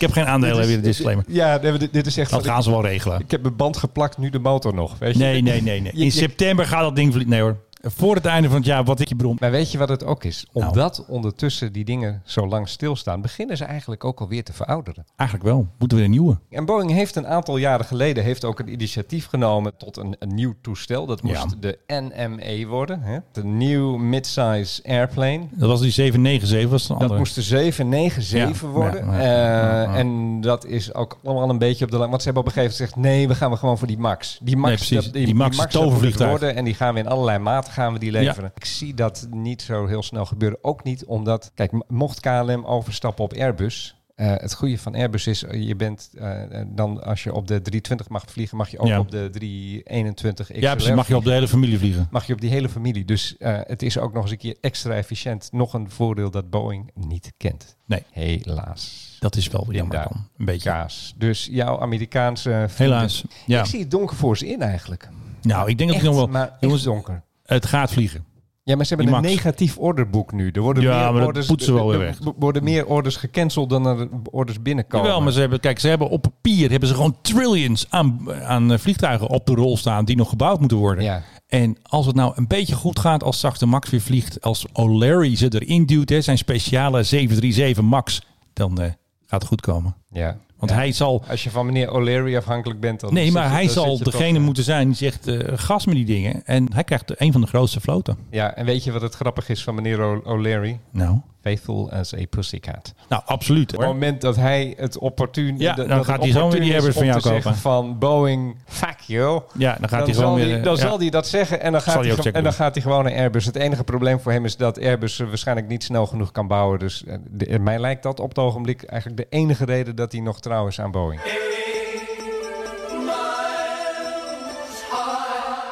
[SPEAKER 1] heb geen aandelen, weer de disclaimer.
[SPEAKER 2] Ja, nee, maar dit, dit is echt...
[SPEAKER 1] Dat
[SPEAKER 2] van,
[SPEAKER 1] gaan ze wel regelen.
[SPEAKER 2] ik heb mijn band geplakt, nu de motor nog. Weet je?
[SPEAKER 1] Nee, nee, nee. nee.
[SPEAKER 2] Je-
[SPEAKER 1] In
[SPEAKER 2] je-
[SPEAKER 1] september gaat dat ding vliegen. Nee hoor. Voor het einde van het jaar, wat ik je bedoel.
[SPEAKER 2] Maar weet je wat het ook is?
[SPEAKER 1] Nou.
[SPEAKER 2] Omdat ondertussen die dingen zo lang stilstaan, beginnen ze eigenlijk ook alweer te verouderen.
[SPEAKER 1] Eigenlijk wel. Moeten we een nieuwe?
[SPEAKER 2] En Boeing heeft een aantal jaren geleden heeft ook een initiatief genomen tot een, een nieuw toestel. Dat moest
[SPEAKER 1] Ja.
[SPEAKER 2] de NME worden, hè? de New Midsize Airplane.
[SPEAKER 1] Dat was die 797, was het een
[SPEAKER 2] Dat
[SPEAKER 1] andere.
[SPEAKER 2] moest de 797
[SPEAKER 1] Ja,
[SPEAKER 2] worden.
[SPEAKER 1] ja, ja,
[SPEAKER 2] Eh,
[SPEAKER 1] ja.
[SPEAKER 2] En dat is ook allemaal een beetje op de lijn. Want ze hebben op een gegeven moment gezegd: nee, we gaan we gewoon voor die Max. Die Max,
[SPEAKER 1] Nee, precies.
[SPEAKER 2] dat-
[SPEAKER 1] Die Max is
[SPEAKER 2] dat moet het
[SPEAKER 1] tovervliegtuig.
[SPEAKER 2] worden. En die gaan we in allerlei maten gaan we die
[SPEAKER 1] Ja.
[SPEAKER 2] leveren. Ik zie dat niet zo heel snel gebeuren. Ook niet omdat, kijk, m- mocht KLM overstappen op Airbus. eh, het goede van Airbus is, eh, je bent eh, dan als je op de 320 mag vliegen, mag je ook
[SPEAKER 1] Ja.
[SPEAKER 2] op de 321 XLR
[SPEAKER 1] Ja, precies. Mag je op de hele familie vliegen.
[SPEAKER 2] mag je op die hele familie. Dus eh, het is ook nog eens een keer extra efficiënt. Nog een voordeel dat Boeing niet kent.
[SPEAKER 1] Nee.
[SPEAKER 2] Helaas.
[SPEAKER 1] Dat is wel jammer
[SPEAKER 2] Inderdaad.
[SPEAKER 1] dan. Een beetje.
[SPEAKER 2] Kaas. Dus jouw Amerikaanse vrienden-
[SPEAKER 1] Helaas. Ja.
[SPEAKER 2] Ik zie het donker voor ze in eigenlijk.
[SPEAKER 1] Nou, ik denk dat
[SPEAKER 2] Echt,
[SPEAKER 1] ik nog wel...
[SPEAKER 2] maar echt
[SPEAKER 1] Jongens,
[SPEAKER 2] donker.
[SPEAKER 1] het gaat vliegen.
[SPEAKER 2] Ja, maar ze hebben
[SPEAKER 1] Die
[SPEAKER 2] een
[SPEAKER 1] Max.
[SPEAKER 2] negatief orderboek nu. Er worden
[SPEAKER 1] Ja,
[SPEAKER 2] meer
[SPEAKER 1] maar dat
[SPEAKER 2] orders,
[SPEAKER 1] poetsen we wel
[SPEAKER 2] er-
[SPEAKER 1] weer
[SPEAKER 2] er
[SPEAKER 1] weg.
[SPEAKER 2] worden meer orders gecanceld dan er orders binnenkomen.
[SPEAKER 1] Jawel, maar ze hebben, kijk, ze hebben op papier hebben ze gewoon trillions aan, aan eh, vliegtuigen op de rol staan die nog gebouwd moeten worden. En als het nou een beetje goed gaat, als straks de Max weer vliegt, als O'Leary ze erin duwt, hè, zijn speciale 737 Max, dan eh, gaat het goed komen.
[SPEAKER 2] Ja.
[SPEAKER 1] Want hij zal.
[SPEAKER 2] Als je van meneer O'Leary afhankelijk bent, dan.
[SPEAKER 1] Nee,
[SPEAKER 2] zit
[SPEAKER 1] maar
[SPEAKER 2] je-
[SPEAKER 1] hij
[SPEAKER 2] dan
[SPEAKER 1] zal
[SPEAKER 2] zit je toch-
[SPEAKER 1] degene moeten zijn die zegt eh, gas met die dingen. En hij krijgt een van de grootste floten.
[SPEAKER 2] eh, Ja, en weet je wat het grappig is van meneer O- O'Leary?
[SPEAKER 1] Nou.
[SPEAKER 2] Faithful as a pussycat.
[SPEAKER 1] Nou, absoluut.
[SPEAKER 2] Op het moment dat hij het opportun...
[SPEAKER 1] Ja,
[SPEAKER 2] dat-
[SPEAKER 1] dan
[SPEAKER 2] dat
[SPEAKER 1] gaat
[SPEAKER 2] het
[SPEAKER 1] hij zo weer die
[SPEAKER 2] opportun is
[SPEAKER 1] Airbus van
[SPEAKER 2] om
[SPEAKER 1] jou
[SPEAKER 2] te
[SPEAKER 1] kopen.
[SPEAKER 2] zeggen van Boeing, fuck you.
[SPEAKER 1] Ja, dan gaat hij
[SPEAKER 2] zal
[SPEAKER 1] gewoon weer, eh,
[SPEAKER 2] Dan
[SPEAKER 1] ja.
[SPEAKER 2] zal hij dat zeggen en dan, gaat
[SPEAKER 1] Zal
[SPEAKER 2] hij
[SPEAKER 1] hij ook
[SPEAKER 2] ge-
[SPEAKER 1] checken
[SPEAKER 2] en dan
[SPEAKER 1] doen.
[SPEAKER 2] gaat hij gewoon naar Airbus. Het enige probleem voor hem is dat Airbus eh, waarschijnlijk niet snel genoeg kan bouwen. Dus eh, de- mij lijkt dat op het ogenblik eigenlijk de enige reden dat hij nog trouw is aan Boeing.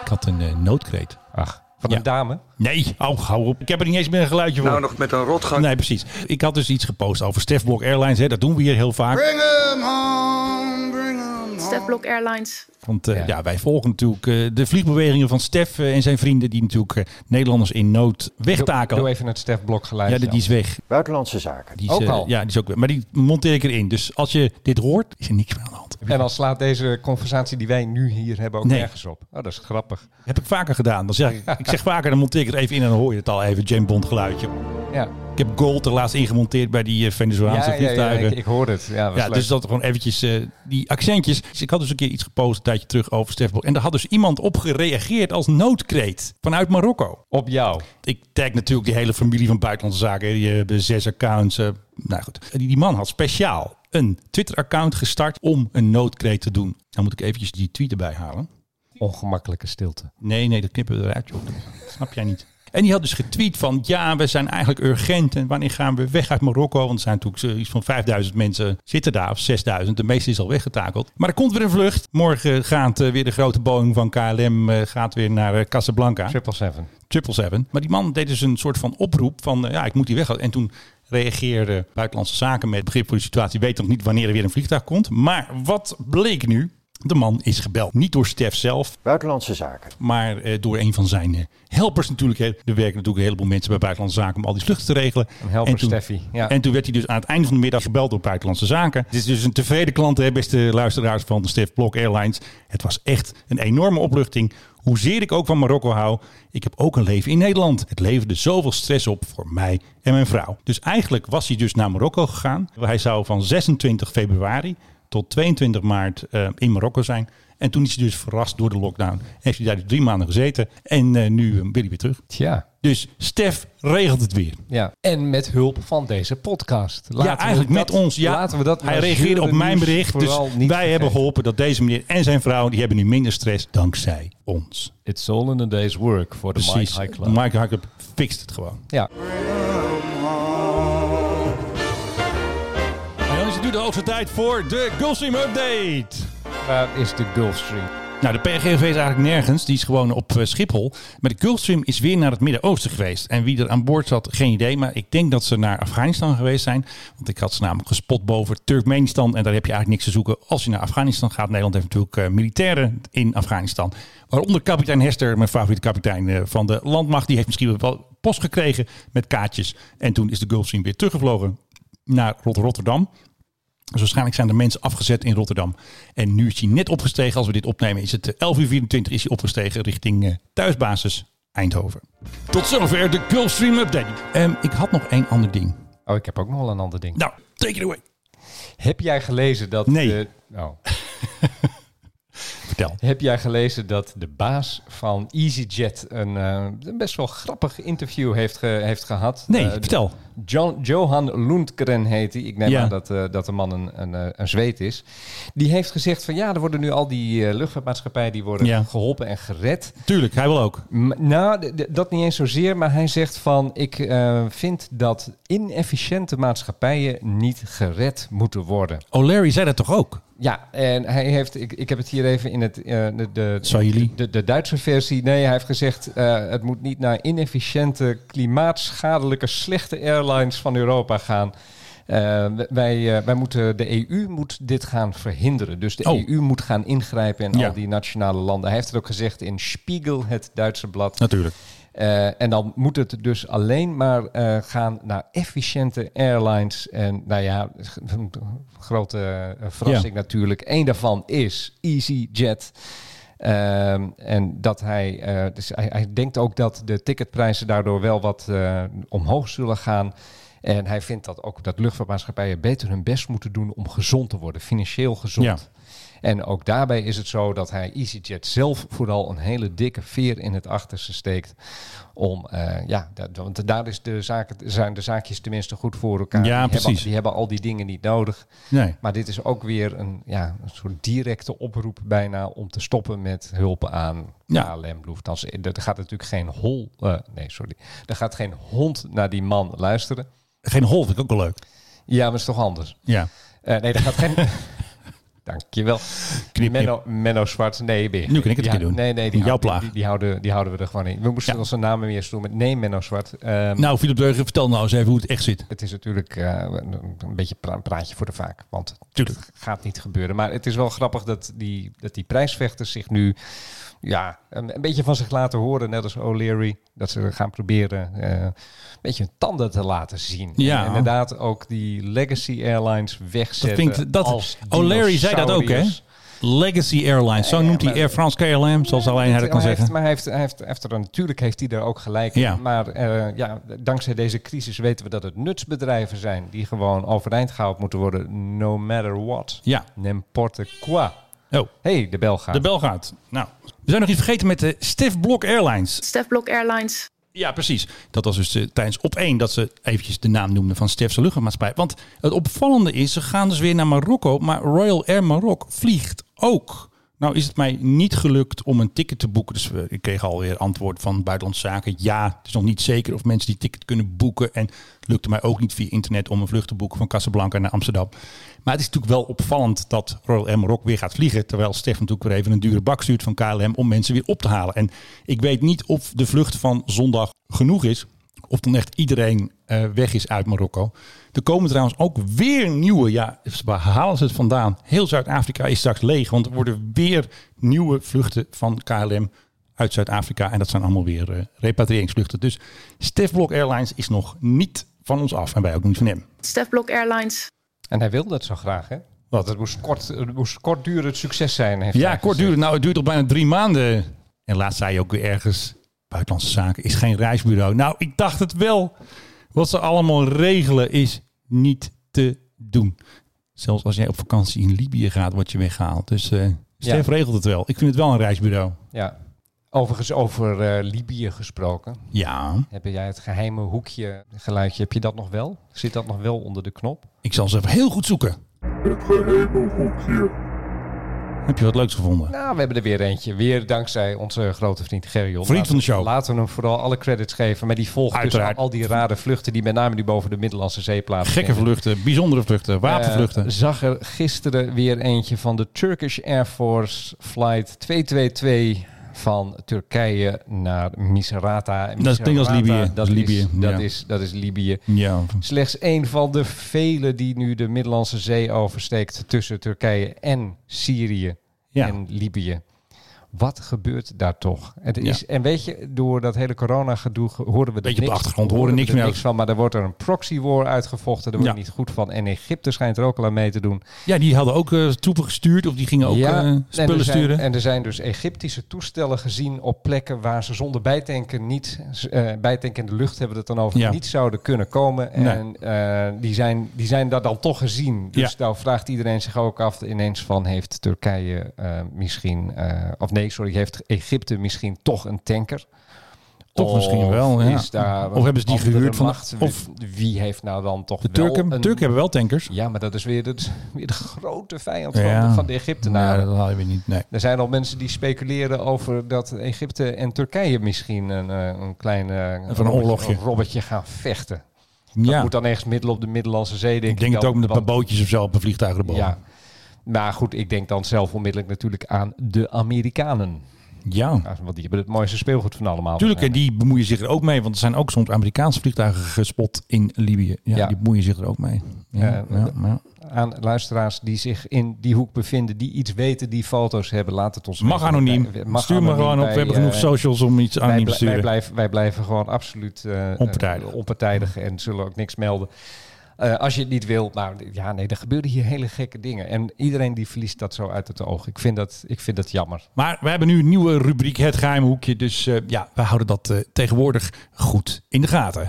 [SPEAKER 1] Ik had een eh, noodkreet.
[SPEAKER 2] Ach, van een dame?
[SPEAKER 1] Nee, oh, hou op. Ik heb er niet eens meer een geluidje voor.
[SPEAKER 4] Nou, nog met een rotgang.
[SPEAKER 1] Nee, precies. Ik had dus iets gepost over Stef Blok Airlines. Hè. Dat doen we hier heel vaak.
[SPEAKER 13] Bring 'em home, bring 'em
[SPEAKER 14] Stef Blok Airlines.
[SPEAKER 1] Want eh, ja. wij volgen natuurlijk eh, de vliegbewegingen van Stef eh, en zijn vrienden... die natuurlijk eh, Nederlanders in nood wegtaken.
[SPEAKER 2] Doe even het Stef Blok geluid.
[SPEAKER 1] Ja, die- die is weg.
[SPEAKER 15] Buitenlandse zaken.
[SPEAKER 1] Die is, eh, Ja, die is ook weg. Maar die monteer ik erin. Dus als je dit hoort, is er niks meer aan de hand.
[SPEAKER 2] En dan slaat deze conversatie die wij nu hier hebben ook
[SPEAKER 1] Nee.
[SPEAKER 2] nergens op. Oh, dat is grappig.
[SPEAKER 1] Heb ik vaker gedaan. Dan zeg ik, ik zeg vaker, dan monteer ik het even in en dan hoor je het al even, James Bond geluidje.
[SPEAKER 2] Ja.
[SPEAKER 1] Ik heb gold er laatst ingemonteerd bij die eh, Venezolaanse
[SPEAKER 2] Ja, ja, ja,
[SPEAKER 1] vliegtuigen.
[SPEAKER 2] ik- ik hoor het. Ja, was leuk.
[SPEAKER 1] dus dat gewoon eventjes eh, die accentjes. Dus ik had dus een keer iets gepost een tijdje terug over Stefbel. En daar had dus iemand op gereageerd als noodkreet vanuit Marokko.
[SPEAKER 2] Op jou.
[SPEAKER 1] Ik tag natuurlijk die hele familie van Buitenlandse Zaken. Die hebben zes accounts. eh, nou goed. En Die, die man had speciaal een Twitter-account gestart om een noodkreet te doen. Nou moet ik eventjes die tweet erbij halen.
[SPEAKER 2] Ongemakkelijke stilte.
[SPEAKER 1] Nee, nee, dat knippen we eruit, joh. Dat snap jij niet. En die had dus getweet van, ja, we zijn eigenlijk urgent. En wanneer gaan we weg uit Marokko? Want er zijn natuurlijk eh, iets van 5000 mensen zitten daar, of 6000. De meeste is al weggetakeld. Maar er komt weer een vlucht. Morgen gaat eh, weer de grote Boeing van KLM eh, gaat weer naar eh, Casablanca.
[SPEAKER 2] 777.
[SPEAKER 1] 777. Maar die man deed dus een soort van oproep van, eh, ja, ik moet die weg. En toen reageerde Buitenlandse Zaken met begrip voor de situatie. Weet nog niet wanneer er weer een vliegtuig komt. Maar wat bleek nu? De man is gebeld. Niet door Stef zelf.
[SPEAKER 15] Buitenlandse zaken.
[SPEAKER 1] Maar eh, door een van zijn eh, helpers natuurlijk. Hè. Er werken natuurlijk een heleboel mensen bij Buitenlandse Zaken om al die vluchten te regelen.
[SPEAKER 2] Een helper
[SPEAKER 1] en toen,
[SPEAKER 2] Steffi, ja.
[SPEAKER 1] En toen werd hij dus aan het einde van de middag gebeld door Buitenlandse Zaken. Dit is dus een tevreden klant, hè, beste luisteraars van Stef Blok Airlines. Het was echt een enorme opluchting. Hoezeer ik ook van Marokko hou, ik heb ook een leven in Nederland. Het leverde zoveel stress op voor mij en mijn vrouw. Dus eigenlijk was hij dus naar Marokko gegaan. Hij zou van 26 februari tot 22 maart eh, in Marokko zijn. En toen is hij dus verrast door de lockdown. Heeft hij daar dus drie maanden gezeten. En eh, nu eh, wil hij weer terug.
[SPEAKER 2] Tja.
[SPEAKER 1] Dus Stef regelt het weer.
[SPEAKER 2] Ja. En met hulp van deze podcast. Laten
[SPEAKER 1] ja, eigenlijk
[SPEAKER 2] we
[SPEAKER 1] met
[SPEAKER 2] dat-
[SPEAKER 1] ons. Ja,
[SPEAKER 2] laten we dat
[SPEAKER 1] hij
[SPEAKER 2] maar
[SPEAKER 1] reageerde op
[SPEAKER 2] zeuren
[SPEAKER 1] mijn
[SPEAKER 2] nieuws
[SPEAKER 1] bericht. Dus wij
[SPEAKER 2] vooral niet
[SPEAKER 1] hebben
[SPEAKER 2] vergeten.
[SPEAKER 1] geholpen dat deze meneer en zijn vrouw... die hebben nu minder stress dankzij ons.
[SPEAKER 2] It's all in a day's work voor
[SPEAKER 1] Precies. Mike High Club fixt het gewoon.
[SPEAKER 2] Ja.
[SPEAKER 1] En dan is het nu de hoogste tijd voor de Gulfstream Update.
[SPEAKER 2] Waar is de Gulfstream?
[SPEAKER 1] Nou, de PRGV is eigenlijk nergens. Die is gewoon op eh, Schiphol. Maar de Gulfstream is weer naar het Midden-Oosten geweest. En wie er aan boord zat, geen idee. Maar ik denk dat ze naar Afghanistan geweest zijn. Want ik had ze namelijk gespot boven Turkmenistan. En daar heb je eigenlijk niks te zoeken als je naar Afghanistan gaat. Nederland heeft natuurlijk eh, militairen in Afghanistan. Waaronder kapitein Hester, mijn favoriete kapitein eh, van de landmacht. Die heeft misschien wel post gekregen met kaartjes. En toen is de Gulfstream weer teruggevlogen naar Rot- Rotterdam. Dus waarschijnlijk zijn er mensen afgezet in Rotterdam. En nu is hij net opgestegen. Als we dit opnemen is het eh, 11 uur 24 is hij opgestegen richting eh, thuisbasis Eindhoven. Tot zover de Gulfstream Update. Ehm, ik had nog één ander ding.
[SPEAKER 2] Oh, ik heb ook nog wel een ander ding.
[SPEAKER 1] Nou, take it away.
[SPEAKER 2] Heb jij gelezen dat...
[SPEAKER 1] Nee.
[SPEAKER 2] De, nou.
[SPEAKER 1] Vertel.
[SPEAKER 2] Heb jij gelezen dat de baas van EasyJet een eh, een best wel grappig interview heeft, ge- heeft gehad?
[SPEAKER 1] Nee,
[SPEAKER 2] Eh,
[SPEAKER 1] vertel.
[SPEAKER 2] John, Johan Lundgren heet hij. Ik neem
[SPEAKER 1] Ja.
[SPEAKER 2] aan dat, eh, dat de man een, een, eh, een zweet is. Die heeft gezegd van ja, er worden nu al die eh, luchtvaartmaatschappijen... die worden
[SPEAKER 1] Ja.
[SPEAKER 2] geholpen en gered.
[SPEAKER 1] Tuurlijk, hij wil ook.
[SPEAKER 2] M- Nou, d- d- dat niet eens zozeer, maar hij zegt van... ik eh, vind dat inefficiënte maatschappijen niet gered moeten worden.
[SPEAKER 1] O'Leary zei dat toch ook?
[SPEAKER 2] Ja, en hij heeft, ik, ik heb het hier even in het, eh, de, de,
[SPEAKER 1] Swahili.
[SPEAKER 2] de, de Duitse versie. Nee, hij heeft gezegd, eh, het moet niet naar inefficiënte, klimaatschadelijke, slechte airlines van Europa gaan. Eh, w- wij, eh, wij moeten, de EU moet dit gaan verhinderen. Dus de
[SPEAKER 1] Oh.
[SPEAKER 2] EU moet gaan ingrijpen in
[SPEAKER 1] Ja.
[SPEAKER 2] al die nationale landen. Hij heeft het ook gezegd in Spiegel, het Duitse blad.
[SPEAKER 1] Natuurlijk.
[SPEAKER 2] Uh, en dan moet het dus alleen maar uh, gaan naar efficiënte airlines. En nou ja, een grote eh, verrassing ja. natuurlijk. Eén daarvan is EasyJet. Uh, en dat hij, uh, dus hij, hij, denkt ook dat de ticketprijzen daardoor wel wat uh, omhoog zullen gaan. En hij vindt dat ook dat luchtvaartmaatschappijen beter hun best moeten doen om gezond te worden, financieel gezond. Ja. En ook daarbij is het zo dat hij EasyJet zelf vooral een hele dikke veer in het achterste steekt. Om, uh, ja, dat, want daar is de zaak, zijn de zaakjes tenminste goed voor elkaar.
[SPEAKER 1] Ja,
[SPEAKER 2] die
[SPEAKER 1] precies.
[SPEAKER 2] Hebben, die hebben al die dingen niet nodig.
[SPEAKER 1] Nee.
[SPEAKER 2] Maar dit is ook weer een, ja, een soort directe oproep bijna om te stoppen met hulp aan ja. KLM, Lufthansa. Eh, Er gaat natuurlijk geen hol, uh, nee sorry, er gaat geen hond naar die man luisteren.
[SPEAKER 1] Geen hol vind ik ook wel leuk.
[SPEAKER 2] Ja, maar dat is toch anders?
[SPEAKER 1] Ja.
[SPEAKER 2] Uh, nee, er gaat geen... Dankjewel.
[SPEAKER 1] Knip,
[SPEAKER 2] Menno, Menno Zwart. Nee, weer.
[SPEAKER 1] Nu kan ik het
[SPEAKER 2] ja,
[SPEAKER 1] doen.
[SPEAKER 2] Nee, nee, die,
[SPEAKER 1] Jouw
[SPEAKER 2] houden,
[SPEAKER 1] plaag.
[SPEAKER 2] Die, die, houden, die houden we er gewoon in. We moesten ja. onze namen weer eens doen met nee, Menno Zwart. Um,
[SPEAKER 1] nou, Philip Deugen, vertel nou eens even hoe het echt zit.
[SPEAKER 2] Het is natuurlijk uh, een, een, beetje pra praatje voor de vaak. Want Tuurlijk. het gaat niet gebeuren. Maar het is wel grappig dat die, dat die prijsvechters zich nu ja, een, een, beetje van zich laten horen, net als O'Leary. Dat ze gaan proberen uh, een beetje hun tanden te laten zien.
[SPEAKER 1] Ja.
[SPEAKER 2] En inderdaad ook die legacy airlines wegzetten.
[SPEAKER 1] Dat, dat
[SPEAKER 2] als
[SPEAKER 1] O'Leary zei dat ook, hè? Legacy Airlines, zo noemt hij Air France KLM, zoals alleen hij dat kan
[SPEAKER 2] maar
[SPEAKER 1] zeggen.
[SPEAKER 2] Heeft, maar hij heeft, hij heeft, heeft er, natuurlijk heeft hij daar ook gelijk in.
[SPEAKER 1] Ja.
[SPEAKER 2] Maar uh, ja, dankzij deze crisis weten we dat het nutsbedrijven zijn... die gewoon overeind gehouden moeten worden, no matter what.
[SPEAKER 1] Ja.
[SPEAKER 2] N'importe quoi.
[SPEAKER 1] Oh.
[SPEAKER 2] hey, de bel gaat.
[SPEAKER 1] De bel gaat. Nou, we zijn nog iets vergeten met de Stef Blok Airlines.
[SPEAKER 14] Stef Blok Airlines.
[SPEAKER 1] Ja, precies. Dat was dus uh, tijdens op één dat ze eventjes de naam noemden van Stefse luchtvaartmaatschappij. Want het opvallende is, ze gaan dus weer naar Marokko, maar Royal Air Marok vliegt ook. Nou is het mij niet gelukt om een ticket te boeken. Dus we, ik kreeg alweer antwoord van Buitenlandse Zaken. Ja, het is nog niet zeker of mensen die ticket kunnen boeken. En het lukte mij ook niet via internet om een vlucht te boeken van Casablanca naar Amsterdam. Maar het is natuurlijk wel opvallend dat Royal Air Marok weer gaat vliegen. Terwijl Stef natuurlijk weer even een dure bak stuurt van KLM om mensen weer op te halen. En ik weet niet of de vlucht van zondag genoeg is. Of dan echt iedereen uh, weg is uit Marokko. Er komen trouwens ook weer nieuwe. Ja, waar halen ze het vandaan? Heel Zuid-Afrika is straks leeg. Want er worden weer nieuwe vluchten van KLM uit Zuid-Afrika. En dat zijn allemaal weer uh, repatriëringsvluchten. Dus Stef Blok Airlines is nog niet van ons af. En wij ook niet van hem.
[SPEAKER 14] Stef Blok Airlines.
[SPEAKER 2] En hij wil dat zo graag, hè?
[SPEAKER 1] Wat?
[SPEAKER 2] Het moest, kort, het moest kortdurend succes zijn. Heeft
[SPEAKER 1] ja,
[SPEAKER 2] hij
[SPEAKER 1] kort
[SPEAKER 2] gezegd.
[SPEAKER 1] duren. Nou, het duurt al bijna drie maanden. En laatst zei je ook weer ergens: Buitenlandse Zaken is geen reisbureau. Nou, ik dacht het wel. Wat ze allemaal regelen is niet te doen. Zelfs als jij op vakantie in Libië gaat, word je weggehaald. Dus eh Stef
[SPEAKER 2] Ja.
[SPEAKER 1] regelt het wel. Ik vind het wel een reisbureau.
[SPEAKER 2] Ja. Overigens over eh, Libië gesproken.
[SPEAKER 1] Ja.
[SPEAKER 2] Heb jij het geheime hoekje geluidje, heb je dat nog wel? Zit dat nog wel onder de knop?
[SPEAKER 1] Ik zal ze even heel goed zoeken.
[SPEAKER 15] Het geheime hoekje.
[SPEAKER 1] Heb je wat leuks gevonden?
[SPEAKER 2] Nou, we hebben er weer eentje. Weer dankzij onze grote vriend Gerjon.
[SPEAKER 1] Vriend van de show.
[SPEAKER 2] Laten we hem vooral alle credits geven. Maar die volgt
[SPEAKER 1] Uiteraard.
[SPEAKER 2] dus al die rare vluchten die met name nu boven de Middellandse Zee plaatsvinden.
[SPEAKER 1] Gekke vluchten, bijzondere vluchten, wapenvluchten.
[SPEAKER 2] Eh, zag er gisteren weer eentje van de Turkish Air Force Flight 222 van Turkije naar Misrata. En
[SPEAKER 1] Dat klinkt als
[SPEAKER 2] Misrata,
[SPEAKER 1] Libië.
[SPEAKER 2] Dat,
[SPEAKER 1] Dat is
[SPEAKER 2] Is,
[SPEAKER 1] Libië,
[SPEAKER 2] dat,
[SPEAKER 1] ja.
[SPEAKER 2] is, dat is Libië.
[SPEAKER 1] ja.
[SPEAKER 2] Slechts één van de vele die nu de Middellandse Zee oversteekt tussen Turkije en Syrië
[SPEAKER 1] Ja.
[SPEAKER 2] en Libië. Wat gebeurt daar toch? Het is, En weet je, door dat hele corona-gedoe ge- horen we er
[SPEAKER 1] Beetje op
[SPEAKER 2] niks,
[SPEAKER 1] de achtergrond, horen
[SPEAKER 2] we
[SPEAKER 1] niks
[SPEAKER 2] er
[SPEAKER 1] meer
[SPEAKER 2] niks
[SPEAKER 1] over.
[SPEAKER 2] van. Maar er wordt er een proxy-war uitgevochten. Daar wordt
[SPEAKER 1] Ja.
[SPEAKER 2] niet goed van. En Egypte schijnt er ook al aan mee te doen.
[SPEAKER 1] ja, die hadden ook eh, troepen gestuurd of die gingen ook eh,
[SPEAKER 2] en
[SPEAKER 1] spullen
[SPEAKER 2] er zijn,
[SPEAKER 1] sturen.
[SPEAKER 2] En er zijn dus Egyptische toestellen gezien op plekken waar ze zonder bijtanken niet, eh bijtanken in de lucht hebben we het dan over,
[SPEAKER 1] Ja.
[SPEAKER 2] niet zouden kunnen komen.
[SPEAKER 1] Nee.
[SPEAKER 2] En eh, die, zijn, die zijn daar dan toch gezien. Dus
[SPEAKER 1] Ja.
[SPEAKER 2] daar vraagt iedereen zich ook af ineens van, heeft Turkije eh, misschien, eh, of nee, sorry, heeft Egypte misschien toch een tanker?
[SPEAKER 1] Toch
[SPEAKER 2] Of
[SPEAKER 1] misschien wel, ja.
[SPEAKER 2] is Oh, daar
[SPEAKER 1] Of hebben ze die
[SPEAKER 2] een andere
[SPEAKER 1] gehuurd van-
[SPEAKER 2] macht?
[SPEAKER 1] of-
[SPEAKER 2] wie heeft nou dan toch
[SPEAKER 1] De Turken,
[SPEAKER 2] wel een...
[SPEAKER 1] Turken hebben wel tankers.
[SPEAKER 2] Ja, maar dat is weer de, weer de grote vijand van,
[SPEAKER 1] Ja.
[SPEAKER 2] de, van de Egyptenaren.
[SPEAKER 1] Ja, dat haal je weer niet. Nee.
[SPEAKER 2] Er zijn al mensen die speculeren over dat Egypte en Turkije misschien een, eh, een klein eh,
[SPEAKER 1] een
[SPEAKER 2] robbertje-
[SPEAKER 1] oorlogje.
[SPEAKER 2] een robbertje gaan vechten. Dat
[SPEAKER 1] Ja.
[SPEAKER 2] moet dan ergens middel op de Middellandse Zee, denk ik.
[SPEAKER 1] Ik denk het
[SPEAKER 2] dan,
[SPEAKER 1] ook met een paar
[SPEAKER 2] want-
[SPEAKER 1] bootjes of zo op een vliegtuig erboven.
[SPEAKER 2] Ja. Maar goed, ik denk dan zelf onmiddellijk natuurlijk aan de Amerikanen.
[SPEAKER 1] Ja.
[SPEAKER 2] want die hebben het mooiste speelgoed van allemaal. Eh,
[SPEAKER 1] Tuurlijk, en die bemoeien zich er ook mee. Want er zijn ook soms Amerikaanse vliegtuigen gespot in Libië. Ja,
[SPEAKER 2] Ja.
[SPEAKER 1] Die bemoeien zich er ook mee. Ja,
[SPEAKER 2] Eh,
[SPEAKER 1] ja, ja.
[SPEAKER 2] Aan luisteraars die zich in die hoek bevinden, die iets weten, die foto's hebben, laat het ons
[SPEAKER 1] Mag
[SPEAKER 2] weten.
[SPEAKER 1] anoniem.
[SPEAKER 2] Wij-
[SPEAKER 1] Stuur me gewoon op. We
[SPEAKER 2] Wij,
[SPEAKER 1] hebben genoeg
[SPEAKER 2] eh,
[SPEAKER 1] socials om iets
[SPEAKER 2] wij,
[SPEAKER 1] anoniem te
[SPEAKER 2] blij- wij,
[SPEAKER 1] sturen.
[SPEAKER 2] blijven, wij blijven gewoon absoluut eh, eh,
[SPEAKER 1] Onpartijdig.
[SPEAKER 2] onpartijdig en zullen ook niks melden. Eh, als je het niet wil, nou ja, nee, er gebeuren hier hele gekke dingen. En iedereen die verliest dat zo uit het oog. Ik vind dat, ik vind dat jammer.
[SPEAKER 1] Maar we hebben nu een nieuwe rubriek, het geheime hoekje. Dus eh, ja, we houden dat eh, tegenwoordig goed in de gaten.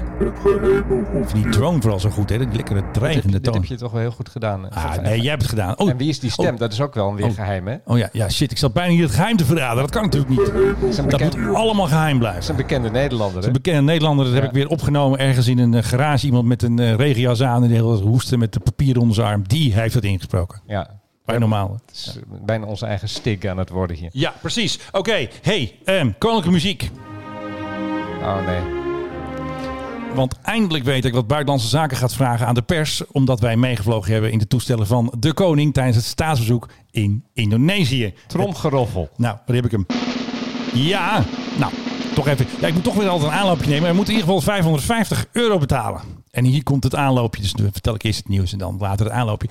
[SPEAKER 1] Of die drone vooral zo goed, hè? Die lekkere
[SPEAKER 2] dit,
[SPEAKER 1] dreigende
[SPEAKER 2] dit heb
[SPEAKER 1] toon.
[SPEAKER 2] je toch wel heel goed gedaan. hè?
[SPEAKER 1] Ah,
[SPEAKER 2] Even-
[SPEAKER 1] nee, jij hebt het gedaan. Oh,
[SPEAKER 2] en wie is die stem?
[SPEAKER 1] oh.
[SPEAKER 2] Dat is ook wel een weer
[SPEAKER 1] Oh.
[SPEAKER 2] geheim, hè?
[SPEAKER 1] Oh ja, ja, shit. Ik zat bijna hier het geheim te verraden. Dat kan natuurlijk niet. Dat moet allemaal geheim blijven.
[SPEAKER 2] Dat is een bekende Nederlander, hè?
[SPEAKER 1] Een bekende Nederlander, dat heb
[SPEAKER 2] Ja.
[SPEAKER 1] ik weer opgenomen ergens in een eh, garage. Iemand met een eh, regenjas aan en die heel hoesten met de papier onder zijn arm. Die heeft dat ingesproken.
[SPEAKER 2] Ja.
[SPEAKER 1] Bij normaal.
[SPEAKER 2] Het is eh, bijna onze eigen stick aan het worden hier.
[SPEAKER 1] Ja, precies. Oké, hey, ehm, koninklijke muziek.
[SPEAKER 2] Oh nee.
[SPEAKER 1] Want eindelijk weet ik wat Buitenlandse Zaken gaat vragen aan de pers. Omdat wij meegevlogen hebben in de toestellen van de koning tijdens het staatsbezoek in Indonesië.
[SPEAKER 2] Tromgeroffel.
[SPEAKER 1] Nou, daar heb ik hem. Ja, nou, toch even. Ja, ik moet toch weer altijd een aanloopje nemen. Hij moet in ieder geval 550 euro betalen. En hier komt het aanloopje. Dus dan vertel ik eerst het nieuws en dan later het aanloopje.